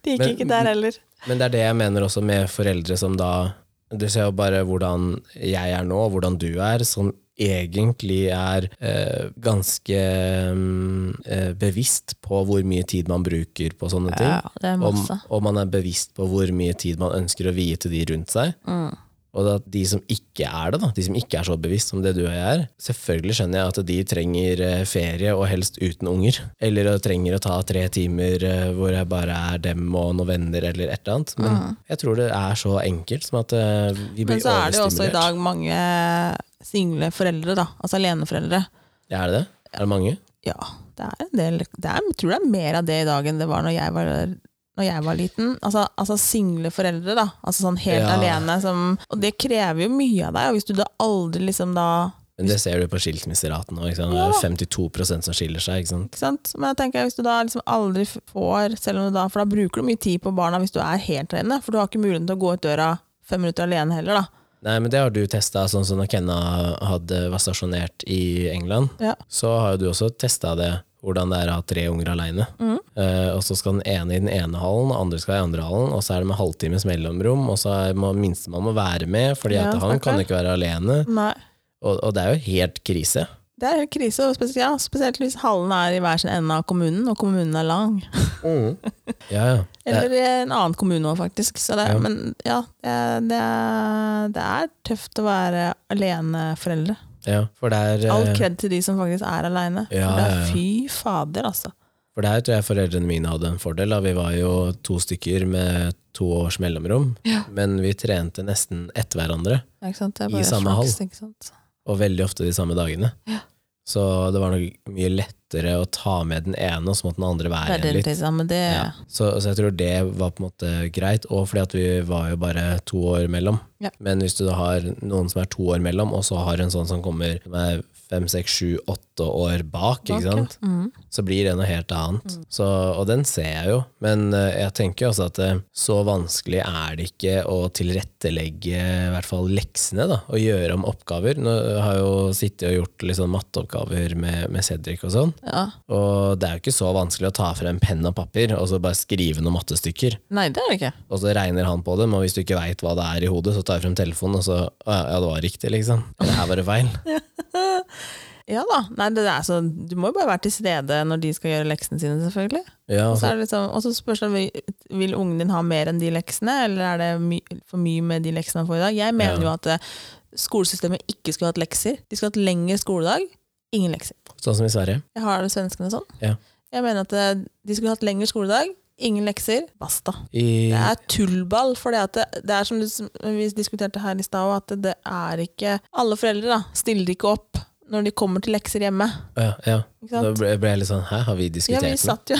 Speaker 2: Det gikk
Speaker 1: Men-
Speaker 2: ikke der heller.
Speaker 1: Men det er det jeg mener også med foreldre som da Du ser jo bare hvordan jeg er nå, og hvordan du er, som egentlig er eh, ganske mm, eh, bevisst på hvor mye tid man bruker på sånne ting.
Speaker 2: det er
Speaker 1: Om, og man er bevisst på hvor mye tid man ønsker å vie til de rundt seg.
Speaker 2: Mm.
Speaker 1: Og at de som ikke er det, da, de som ikke er så bevisst som det du og jeg er, selvfølgelig skjønner jeg at de trenger eh, ferie, og helst uten unger. Eller at de trenger å ta tre timer eh, hvor jeg bare er dem og noen venner, eller et eller annet. Men jeg tror det er så enkelt som at eh, vi blir
Speaker 2: Men så er det jo også i
Speaker 1: overstimulert.
Speaker 2: dag mange single foreldre, da. Altså aleneforeldre.
Speaker 1: Ja, Er det det? Er det mange?
Speaker 2: Ja, det er en del det er, Jeg tror det er mer av det i dag enn det var når jeg var når jeg var liten. Altså, altså single foreldre, da. Altså sånn helt
Speaker 1: Ja.
Speaker 2: alene som Og det krever jo mye av deg, og hvis du da aldri liksom da
Speaker 1: Men det ser du på skilsmisseraten nå. ikke sant? Det
Speaker 2: Ja.
Speaker 1: er 52 som skiller seg. ikke sant?
Speaker 2: Ikke sant? Men jeg tenker hvis du da liksom aldri f- får selv om du da, For da bruker du mye tid på barna hvis du er helt alene, for du har ikke muligheten til å gå ut døra fem minutter alene heller, da.
Speaker 1: Nei, men det har du testa, sånn som når Kenna hadde, var stasjonert i England.
Speaker 2: Ja.
Speaker 1: Så har jo du også testa det, hvordan det er å ha tre unger aleine.
Speaker 2: Mm.
Speaker 1: og så skal den ene i den ene hallen, den andre skal i den andre hallen, og så er det med halvtimes mellomrom, og så er- må minstemann må være med, fordi
Speaker 2: Ja,
Speaker 1: at han
Speaker 2: stakkar.
Speaker 1: kan ikke være alene.
Speaker 2: Nei.
Speaker 1: Og, og det er jo helt krise.
Speaker 2: Det er helt krise, og spesielt, ja, spesielt hvis hallen er i hver sin ende av kommunen, og kommunen er lang.
Speaker 1: Ja, ja. Det er-
Speaker 2: Eller i en annen kommune òg, faktisk. Så det,
Speaker 1: Ja.
Speaker 2: Men ja, det, det, det er tøft å være aleneforeldre.
Speaker 1: ja. For det er
Speaker 2: All
Speaker 1: eh,
Speaker 2: kred til de som faktisk er aleine.
Speaker 1: Ja,
Speaker 2: For det
Speaker 1: ja,
Speaker 2: er
Speaker 1: ja.
Speaker 2: fy fader, altså.
Speaker 1: For der tror jeg foreldrene mine hadde en fordel. Da. Vi var jo to stykker med to års mellomrom, men vi trente nesten etter hverandre.
Speaker 2: Det er Ikke sant? Det er
Speaker 1: I
Speaker 2: bare
Speaker 1: samme
Speaker 2: flaks, Ikke sant?
Speaker 1: og veldig ofte de samme dagene. Så det var nok mye lettere å ta med den ene, og så måtte den andre
Speaker 2: Det
Speaker 1: være
Speaker 2: er
Speaker 1: igjen litt.
Speaker 2: deltid, ja, men det
Speaker 1: Ja. Så, så jeg tror det var på en måte greit, og fordi at vi var jo bare to år mellom.
Speaker 2: Ja.
Speaker 1: Men hvis du da har noen som er to år mellom, og så har en sånn som kommer som er fem, seks, sju, åtte år bak,
Speaker 2: Bak,
Speaker 1: ikke
Speaker 2: ja.
Speaker 1: sant? så blir det noe helt annet.
Speaker 2: Mm.
Speaker 1: Så, og den ser jeg jo. Men eh, jeg tenker jo også at eh, så vanskelig er det ikke å tilrettelegge i hvert fall leksene, da, og gjøre om oppgaver. Nå har jeg jo sittet og gjort litt sånn matteoppgaver med, med Cedric og sånn,
Speaker 2: Ja.
Speaker 1: og det er jo ikke så vanskelig å ta frem penn og papir og så bare skrive noen mattestykker.
Speaker 2: Nei, det er det ikke.
Speaker 1: Og så regner han på dem, og hvis du ikke veit hva det er i hodet, så tar jeg frem telefonen, og så Å ja, ja, det var riktig, liksom. Eller her var det feil.
Speaker 2: Ja da. Nei, det er så, du må jo bare være til stede når de skal gjøre leksene sine, selvfølgelig.
Speaker 1: Ja,
Speaker 2: Og
Speaker 1: og
Speaker 2: så
Speaker 1: så-
Speaker 2: er det liksom, og så spørs det vil- vil ungen din ha mer enn de leksene, eller er det my for mye med de leksene han får i dag? Jeg mener
Speaker 1: Ja.
Speaker 2: jo at eh, skolesystemet ikke skulle hatt lekser. De skulle hatt lengre skoledag, ingen lekser.
Speaker 1: sånn som i Sverige.
Speaker 2: Jeg har det svenskene sånn.
Speaker 1: Ja.
Speaker 2: Jeg mener at eh, de skulle hatt lengre skoledag, ingen lekser, basta.
Speaker 1: I,
Speaker 2: Det er tullball, for det, at eh, det, det er som du, som vi diskuterte her i stad, også, at det er ikke Alle foreldre da, stiller ikke opp når de kommer til lekser hjemme.
Speaker 1: ja, ja.
Speaker 2: Ikke
Speaker 1: Da
Speaker 2: sant?
Speaker 1: ble ble jeg litt sånn Hæ, har vi
Speaker 2: Ja,
Speaker 1: diskutert
Speaker 2: vi
Speaker 1: den?
Speaker 2: satt jo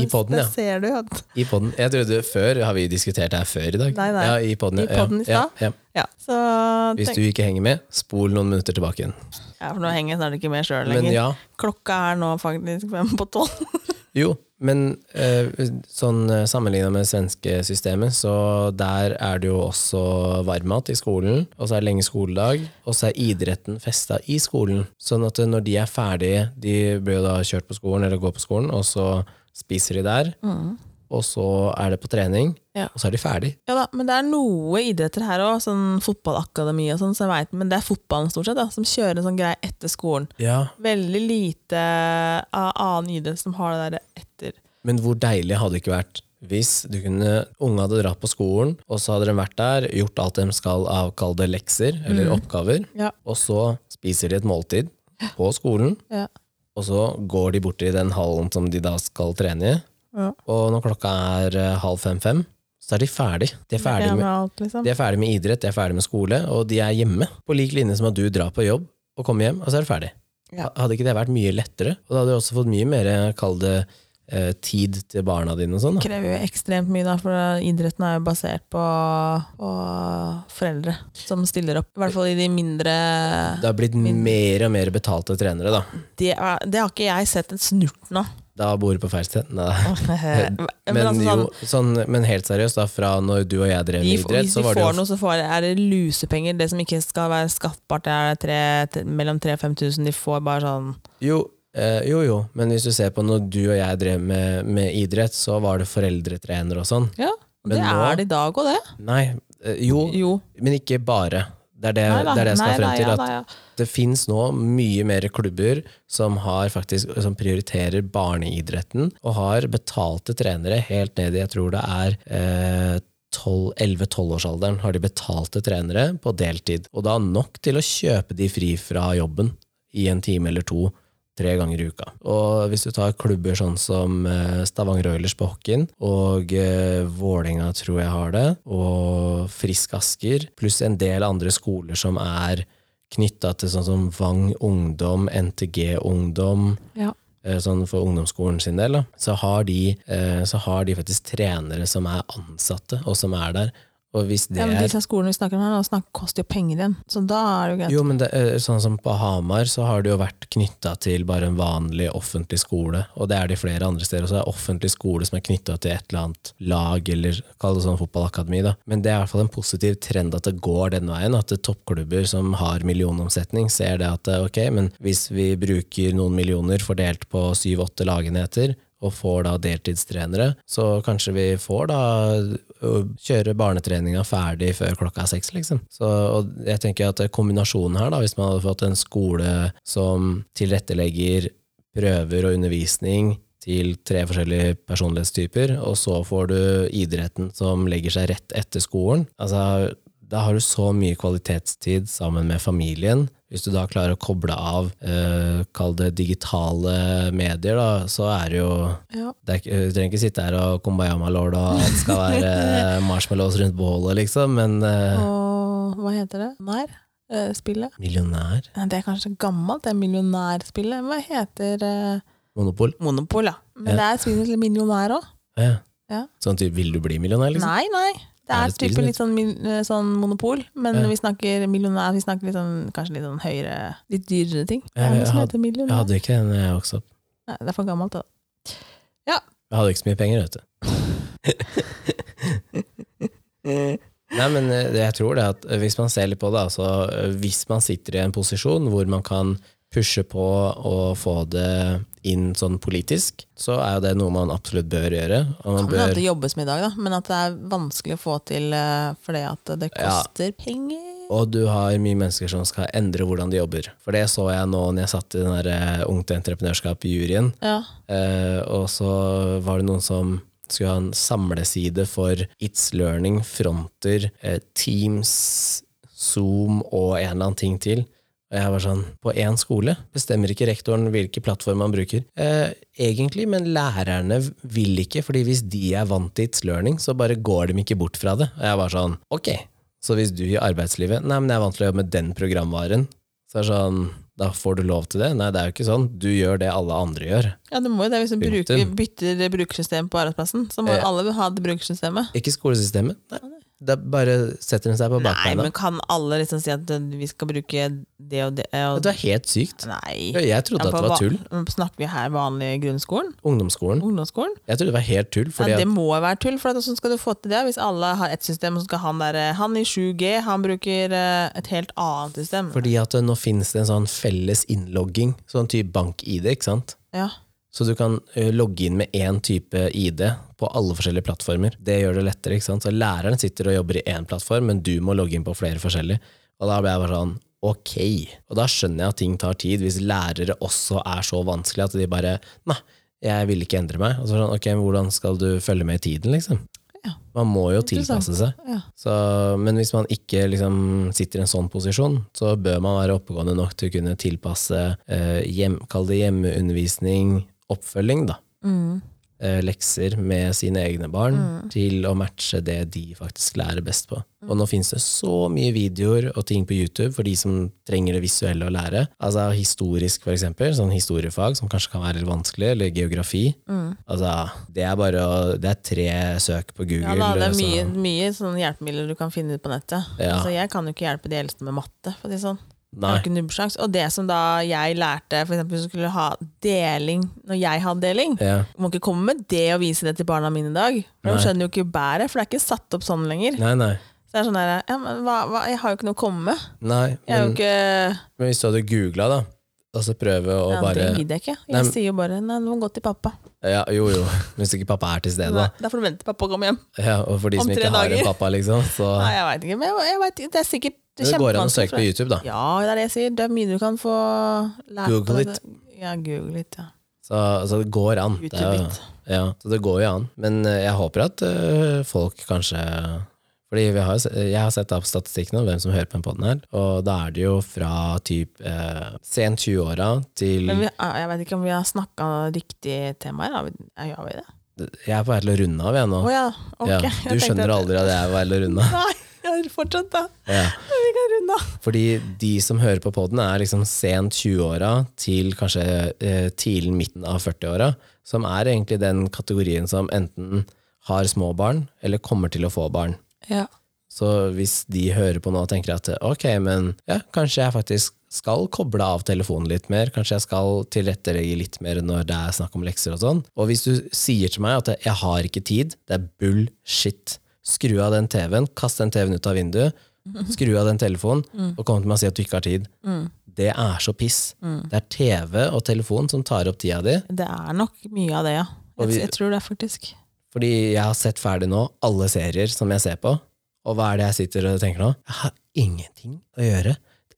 Speaker 1: I podden, ja.
Speaker 2: Der ser du at
Speaker 1: I podden. Jeg trodde før Har vi diskutert det her før i dag?
Speaker 2: Nei, nei.
Speaker 1: Ja, i podden,
Speaker 2: I podden i
Speaker 1: ja.
Speaker 2: stad.
Speaker 1: Ja, ja.
Speaker 2: Ja. Så
Speaker 1: Hvis
Speaker 2: tenk-
Speaker 1: du ikke henger med, spol noen minutter tilbake igjen.
Speaker 2: Ja, for nå henger jeg snart ikke med sjøl
Speaker 1: Men
Speaker 2: lenger.
Speaker 1: ja,
Speaker 2: Klokka er nå faktisk fem på tolv.
Speaker 1: jo. Men eh, sånn eh, sammenlignet med det svenske systemet, så der er det jo også varmmat i skolen, og så er det lenge skoledag, og så er idretten festa i skolen. Sånn at eh, når de er ferdige, de blir jo da kjørt på skolen eller går på skolen, og så spiser de der. og så er det på trening,
Speaker 2: Ja.
Speaker 1: og så er de ferdig.
Speaker 2: Ja da, men det er noe idretter her òg, sånn fotballakademi og sånn, så jeg vet, men det er fotballen stort sett, da, som kjører en sånn greie etter skolen.
Speaker 1: Ja.
Speaker 2: Veldig lite av annen idrett som har det der etter.
Speaker 1: Men hvor deilig hadde det ikke vært hvis du kunne, unge hadde dratt på skolen, og så hadde de vært der, gjort alt de skal av kall det lekser eller oppgaver,
Speaker 2: Ja.
Speaker 1: og så spiser de et måltid på skolen,
Speaker 2: Ja.
Speaker 1: og så går de bort til den hallen som de da skal trene i,
Speaker 2: Ja.
Speaker 1: og når klokka er eh, halv fem-fem, så er de ferdig. De er ferdig
Speaker 2: med
Speaker 1: med,
Speaker 2: alt, liksom.
Speaker 1: de er ferdig med idrett, de er ferdig med skole, og de er hjemme, på lik linje som at du drar på jobb og kommer hjem, og så er du ferdig.
Speaker 2: Ja.
Speaker 1: Hadde ikke det vært mye lettere? Og da hadde du også fått mye mer, kall det, eh, tid til barna dine og sånn. da.
Speaker 2: krever jo ekstremt mye, da, for idretten er jo basert på, på foreldre som stiller opp. I hvert fall i de mindre
Speaker 1: Det har blitt mer og mer betalte trenere, da.
Speaker 2: Det, er, det har ikke jeg sett en snurten av.
Speaker 1: Da bor du på feil sted. Nei.
Speaker 2: Men,
Speaker 1: Men,
Speaker 2: altså,
Speaker 1: jo,
Speaker 2: sånn,
Speaker 1: sånn, men helt seriøst, da, fra når du og jeg drev
Speaker 2: de,
Speaker 1: med idrett,
Speaker 2: hvis de
Speaker 1: så var det
Speaker 2: får
Speaker 1: jo
Speaker 2: noe, så får, er det lusepenger. Det som ikke skal være skattbart, det er tre, t- mellom 3000 og 5000. De får bare sånn
Speaker 1: jo, eh, jo, jo, men hvis du ser på når du og jeg drev med, med idrett, så var det foreldretrenere og sånn.
Speaker 2: Ja,
Speaker 1: Men
Speaker 2: det
Speaker 1: nå-
Speaker 2: er det i dag òg, det.
Speaker 1: Nei, eh, jo,
Speaker 2: Jo.
Speaker 1: men ikke bare. Det er det,
Speaker 2: Nei
Speaker 1: det,
Speaker 2: da,
Speaker 1: er det jeg
Speaker 2: nei
Speaker 1: skal
Speaker 2: da,
Speaker 1: frem til.
Speaker 2: ja
Speaker 1: at
Speaker 2: da, ja.
Speaker 1: det fins nå mye mer klubber som, har faktisk, som prioriterer barneidretten, og har betalte trenere helt ned i jeg tror det er eh, 12 11-12-årsalderen. Har de betalte trenere på deltid, og da nok til å kjøpe de fri fra jobben i en time eller to. Tre ganger i uka. Og hvis du tar klubber sånn som eh, Stavanger Oilers på hockeyen, og eh, Vålerenga tror jeg har det, og Frisk Asker, pluss en del andre skoler som er knytta til sånn som Vang Ungdom, NTG Ungdom,
Speaker 2: Ja.
Speaker 1: eh, sånn for ungdomsskolen sin del, da, så, har de, eh, så har de faktisk trenere som er ansatte, og som er der. Og hvis det
Speaker 2: Ja, men
Speaker 1: er
Speaker 2: disse skolene vi snakker om her, nå snakker, koster jo penger igjen. Så da er det jo greit.
Speaker 1: jo, men det, eh, sånn som på Hamar så har det jo vært knytta til bare en vanlig offentlig skole, og det er det i flere andre steder også. Det er offentlig skole som er knytta til et eller annet lag, eller kall det sånn fotballakademi, da. Men det er i hvert fall en positiv trend at det går den veien, at det er toppklubber som har millionomsetning, ser det at eh, ok, men hvis vi bruker noen millioner fordelt på syv-åtte lagenheter, og får da deltidstrenere, så kanskje vi får da ø, kjøre barnetreninga ferdig før klokka er seks, liksom. Så og jeg tenker at kombinasjonen her, da, hvis man hadde fått en skole som tilrettelegger prøver og undervisning til tre forskjellige personlighetstyper, og så får du idretten som legger seg rett etter skolen, altså da har du så mye kvalitetstid sammen med familien. Hvis du da klarer å koble av, eh, kall det digitale medier, da, så er det jo
Speaker 2: Ja.
Speaker 1: det er, ikke- Du trenger ikke sitte her og kumbayama-lord og alt skal være eh, marshmallows rundt bålet, liksom, men eh,
Speaker 2: Og hva heter det? Nær? Eh, spillet?
Speaker 1: millionær,
Speaker 2: Nei, Det er kanskje gammelt, det er millionærspillet. Hva heter eh,
Speaker 1: monopol
Speaker 2: Monopol, ja. Men det er spillet til millionær òg.
Speaker 1: ja.
Speaker 2: Ja.
Speaker 1: Sånn typ, vil du bli millionær, liksom?
Speaker 2: Nei, nei. Det
Speaker 1: Er
Speaker 2: er,
Speaker 1: det spillet
Speaker 2: typen
Speaker 1: ditt?
Speaker 2: litt sånn, min- eh, sånn monopol, men
Speaker 1: Ja.
Speaker 2: vi snakker millionær, vi snakker litt sånn, kanskje litt sånn høyere, litt dyrere ting. Det
Speaker 1: Ja,
Speaker 2: er
Speaker 1: jeg
Speaker 2: noe som
Speaker 1: had-
Speaker 2: heter millionær.
Speaker 1: Jeg hadde ikke den da jeg vokste opp.
Speaker 2: Nei, det er for gammelt, da.
Speaker 1: Jeg hadde ikke så mye penger, vet du. Nei, men eh, jeg tror det at eh, hvis man ser litt på det, altså eh, hvis man sitter i en posisjon hvor man kan pushe på og få det inn sånn politisk, så er jo det noe man absolutt bør gjøre. Og man
Speaker 2: Kan hende at
Speaker 1: bør,
Speaker 2: det jobbes med i dag, da, men at det er vanskelig å få til eh, fordi at det
Speaker 1: Ja.
Speaker 2: koster penger.
Speaker 1: og du har mye mennesker som skal endre hvordan de jobber. For det så jeg nå når jeg satt i den der eh, Ungt Entreprenørskap-juryen,
Speaker 2: Ja.
Speaker 1: Eh, og så var det noen som skulle ha en samleside for It's Learning, Fronter, eh, Teams, Zoom og en eller annen ting til. Og jeg var sånn, på én skole bestemmer ikke rektoren hvilke plattform man bruker. Eh, egentlig, men lærerne vil ikke, fordi hvis de er vant til It's Learning, så bare går de ikke bort fra det. Og jeg var sånn, ok, så hvis du i arbeidslivet, nei, men jeg er vant til å jobbe med den programvaren, så er det sånn, da får du lov til det. Nei, det er jo ikke sånn. Du gjør det alle andre gjør.
Speaker 2: ja, det må jo det. Hvis du bruker,
Speaker 1: Punktum.
Speaker 2: bytter brukersystem på arbeidsplassen, så må
Speaker 1: Eh.
Speaker 2: alle ha det brukersystemet.
Speaker 1: Ikke skolesystemet. Nei. Da bare setter hun seg på
Speaker 2: Nei,
Speaker 1: bakbeina.
Speaker 2: men kan alle liksom si at eh, vi skal bruke det og det? eh,
Speaker 1: Vet
Speaker 2: Og...
Speaker 1: du, Det er helt sykt.
Speaker 2: Nei.
Speaker 1: Jeg trodde
Speaker 2: Ja,
Speaker 1: at det
Speaker 2: for
Speaker 1: var
Speaker 2: hva-
Speaker 1: tull.
Speaker 2: Snakker vi her vanlig grunnskolen?
Speaker 1: Ungdomsskolen.
Speaker 2: Ungdomsskolen?
Speaker 1: Jeg trodde det var helt tull. Fordi
Speaker 2: ja, det
Speaker 1: at,
Speaker 2: må være tull, for at hvordan skal du få til det hvis alle har ett system, og så skal han der, eh, han i 7G, han bruker eh, et helt annet system?
Speaker 1: fordi at nå finnes det en sånn felles innlogging, sånn type bank-ID, ikke sant?
Speaker 2: Ja.
Speaker 1: Så du kan eh, logge inn med én type ID på alle forskjellige plattformer. Det gjør det lettere. ikke sant? Så læreren sitter og jobber i én plattform, men du må logge inn på flere forskjellige. Og da ble jeg bare sånn ok. Og da skjønner jeg at ting tar tid, hvis lærere også er så vanskelig at de bare nei, jeg vil ikke endre meg. Og så er det sånn, ok, men hvordan skal du følge med i tiden, liksom?
Speaker 2: Ja.
Speaker 1: Man må jo
Speaker 2: Interessant.
Speaker 1: tilpasse seg.
Speaker 2: Ja.
Speaker 1: Så, men hvis man ikke liksom, sitter i en sånn posisjon, så bør man være oppegående nok til å kunne tilpasse eh, hjem, kall det hjemmeundervisning, oppfølging, da.
Speaker 2: Mm.
Speaker 1: Eh, lekser med sine egne barn til å matche det de faktisk lærer best på. Og nå finnes det så mye videoer og ting på YouTube for de som trenger det visuelle å lære. Altså historisk, for eksempel, sånn historiefag som kanskje kan være litt vanskelig, eller geografi. Altså, det er bare å Det er tre søk på Google.
Speaker 2: Mm.
Speaker 1: altså.
Speaker 2: Ja, da, det er
Speaker 1: så-
Speaker 2: mye, mye sånne hjelpemidler du kan finne ut på nettet.
Speaker 1: Ja.
Speaker 2: Altså, jeg kan jo ikke hjelpe de eldste med matte. For å si det sånn. Jeg
Speaker 1: Nei.
Speaker 2: har ikke nubbesjans. Og det som da jeg lærte, for eksempel hvis du skulle ha deling når jeg hadde deling
Speaker 1: Ja.
Speaker 2: Du må ikke komme med det og vise det til barna mine i dag. For
Speaker 1: Nei.
Speaker 2: De skjønner jo ikke bæret, for det er ikke satt opp sånn lenger.
Speaker 1: Nei, nei.
Speaker 2: Så det er sånn der, ja, men hva, hva, Jeg har jo ikke noe å komme med.
Speaker 1: Nei,
Speaker 2: Jeg er jo
Speaker 1: men,
Speaker 2: ikke
Speaker 1: men hvis du hadde googla, da, og så prøve å
Speaker 2: ja,
Speaker 1: bare
Speaker 2: Det gidder jeg ikke. Jeg
Speaker 1: Nei, men-
Speaker 2: sier jo bare nei, du må gå til pappa.
Speaker 1: ja, Jo, jo, hvis ikke pappa er til stede,
Speaker 2: Nei,
Speaker 1: da.
Speaker 2: da får du vente til pappa kommer hjem.
Speaker 1: Ja, og for de
Speaker 2: Om
Speaker 1: som
Speaker 2: tre
Speaker 1: ikke har
Speaker 2: dager.
Speaker 1: en pappa, liksom, så
Speaker 2: Nei, jeg vet ikke, men jeg, jeg vet, ikke. det er sikkert
Speaker 1: Men Det går an å
Speaker 2: kjempevanskelig
Speaker 1: søke
Speaker 2: for
Speaker 1: på
Speaker 2: deg.
Speaker 1: YouTube, da.
Speaker 2: Ja, det er det jeg sier. Det er mye du kan få lært.
Speaker 1: Google Mm.
Speaker 2: på
Speaker 1: it.
Speaker 2: dette. Ja, google it, ja.
Speaker 1: Så, så det går an. Det er jo-
Speaker 2: YouTube it.
Speaker 1: ja, så det går jo an. Men eh, jeg håper at eh, folk kanskje fordi vi har, jo se- Jeg har sett av statistikken om hvem som hører på den podden her, og da er det jo fra typ eh, sent 20-åra til
Speaker 2: Men vi, ah, jeg vet ikke om vi har snakka riktig tema her. Har vi, ja, gjør vi det?
Speaker 1: Jeg er på vei til å runde av, jeg nå.
Speaker 2: Å ja, ok.
Speaker 1: Ja,
Speaker 2: Jeg
Speaker 1: du
Speaker 2: tenkte
Speaker 1: skjønner
Speaker 2: at-
Speaker 1: aldri at jeg er på vei til å runde av.
Speaker 2: Nei, ja, fortsett, da.
Speaker 1: Ja.
Speaker 2: Vi kan runde av.
Speaker 1: Fordi de som hører på podden er liksom sent 20-åra til kanskje eh, tidlig midten av 40-åra, som er egentlig den kategorien som enten har små barn, eller kommer til å få barn.
Speaker 2: Ja.
Speaker 1: Så hvis de hører på nå og tenker at ok, men ja, kanskje jeg faktisk skal koble av telefonen litt mer, kanskje jeg skal tilrettelegge litt mer når det er snakk om lekser og sånn. Og hvis du sier til meg at jeg har ikke tid, det er bullshit. Skru av den TV-en, kast den TV-en ut av vinduet, skru av den telefonen, og kom til meg og si at du ikke har tid. Det er så piss. Det er TV og telefon som tar opp tida di.
Speaker 2: Det er nok mye av det, ja.
Speaker 1: Og
Speaker 2: Jeg,
Speaker 1: vi-
Speaker 2: jeg tror det, er faktisk.
Speaker 1: Fordi jeg har sett ferdig nå alle serier som jeg ser på. Og hva er det jeg sitter og tenker nå? Jeg har ingenting å gjøre.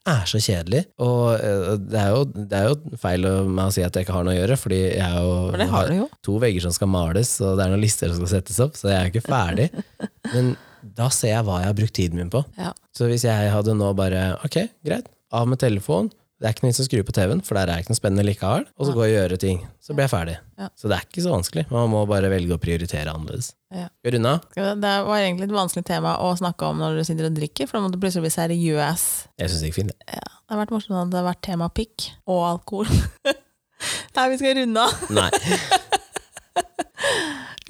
Speaker 1: Det er så kjedelig. Og eh, det er jo, det er jo feil av meg å si at jeg ikke har noe å gjøre, fordi jeg er jo,
Speaker 2: For det har du jo.
Speaker 1: to vegger som skal males, og det er noen lister som skal settes opp, så jeg er ikke ferdig. Men da ser jeg hva jeg har brukt tiden min på.
Speaker 2: Ja.
Speaker 1: Så hvis jeg hadde nå bare Ok, greit. Av med telefonen. Det er ikke noe vits å skru på TV-en, for der er ikke noe spennende likevel. Og så gå og gjøre ting. Så blir jeg ferdig.
Speaker 2: Ja.
Speaker 1: Så det er ikke så vanskelig. Man må bare velge å prioritere annerledes.
Speaker 2: Ja.
Speaker 1: Skal vi runde av?
Speaker 2: Skal vi- Det var egentlig et vanskelig tema å snakke om når du sitter og drikker, for da må du plutselig bli seriøs.
Speaker 1: Jeg syns det gikk fint. det.
Speaker 2: Det har vært morsomt at det har vært tema pikk og alkohol. Nei, vi skal runde av.
Speaker 1: Nei.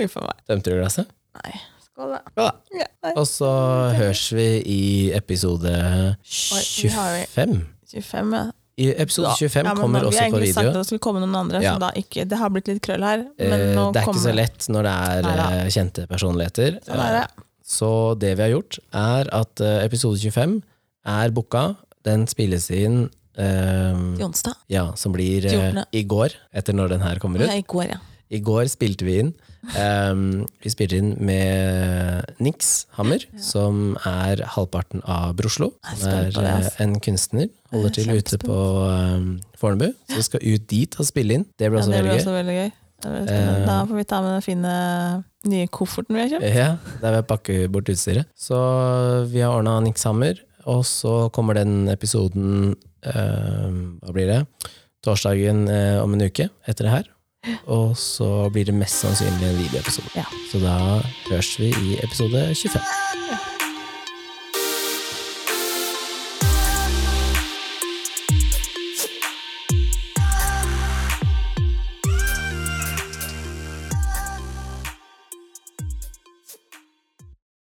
Speaker 2: Huff a meg.
Speaker 1: Tømte du glasset?
Speaker 2: Nei. Skål, da.
Speaker 1: Ja.
Speaker 2: Ja, nei.
Speaker 1: Og så høres vi i episode
Speaker 2: vi har
Speaker 1: 25.
Speaker 2: 25, ja.
Speaker 1: I episode 25
Speaker 2: Ja, men
Speaker 1: kommer
Speaker 2: nå-
Speaker 1: også på
Speaker 2: Vi har egentlig sagt
Speaker 1: video.
Speaker 2: at det skulle komme noen andre,
Speaker 1: Ja.
Speaker 2: så da ikke Det har blitt litt krøll her.
Speaker 1: Eh,
Speaker 2: Men nå
Speaker 1: det er ikke
Speaker 2: kommer
Speaker 1: så lett når det er
Speaker 2: Neida.
Speaker 1: eh, kjente personligheter.
Speaker 2: Sånn er det.
Speaker 1: Så det vi har gjort, er at eh, episode 25 er booka. Den spilles inn eh,
Speaker 2: Jonstad.
Speaker 1: Ja, som blir eh,
Speaker 2: 14..
Speaker 1: i går, etter når den her kommer ut.
Speaker 2: Ja, I går, ja.
Speaker 1: I går spilte vi inn. Um, vi spilte inn med Nix Hammer, som er halvparten av Broslo.
Speaker 2: Jeg er
Speaker 1: Som er
Speaker 2: spent på det,
Speaker 1: eh,
Speaker 2: ass.
Speaker 1: en kunstner. Holder til ute
Speaker 2: kjempespent.
Speaker 1: på um, Fornebu. Så vi skal ut dit og spille inn. Det blir
Speaker 2: ja
Speaker 1: også
Speaker 2: det blir
Speaker 1: veldig gøy.
Speaker 2: også veldig gøy. Det blir spennende.
Speaker 1: Eh.
Speaker 2: Da får vi ta med den fine nye kofferten vi har kjøpt.
Speaker 1: Ja, der vil jeg pakke bort utstyret. Så vi har ordna Nix Hammer, og så kommer den episoden eh, Hva blir det? Torsdagen eh, om en uke etter det her. Og så blir det mest sannsynlig en videoepisode.
Speaker 2: Ja.
Speaker 1: Så da høres vi i episode 25.
Speaker 2: Ja.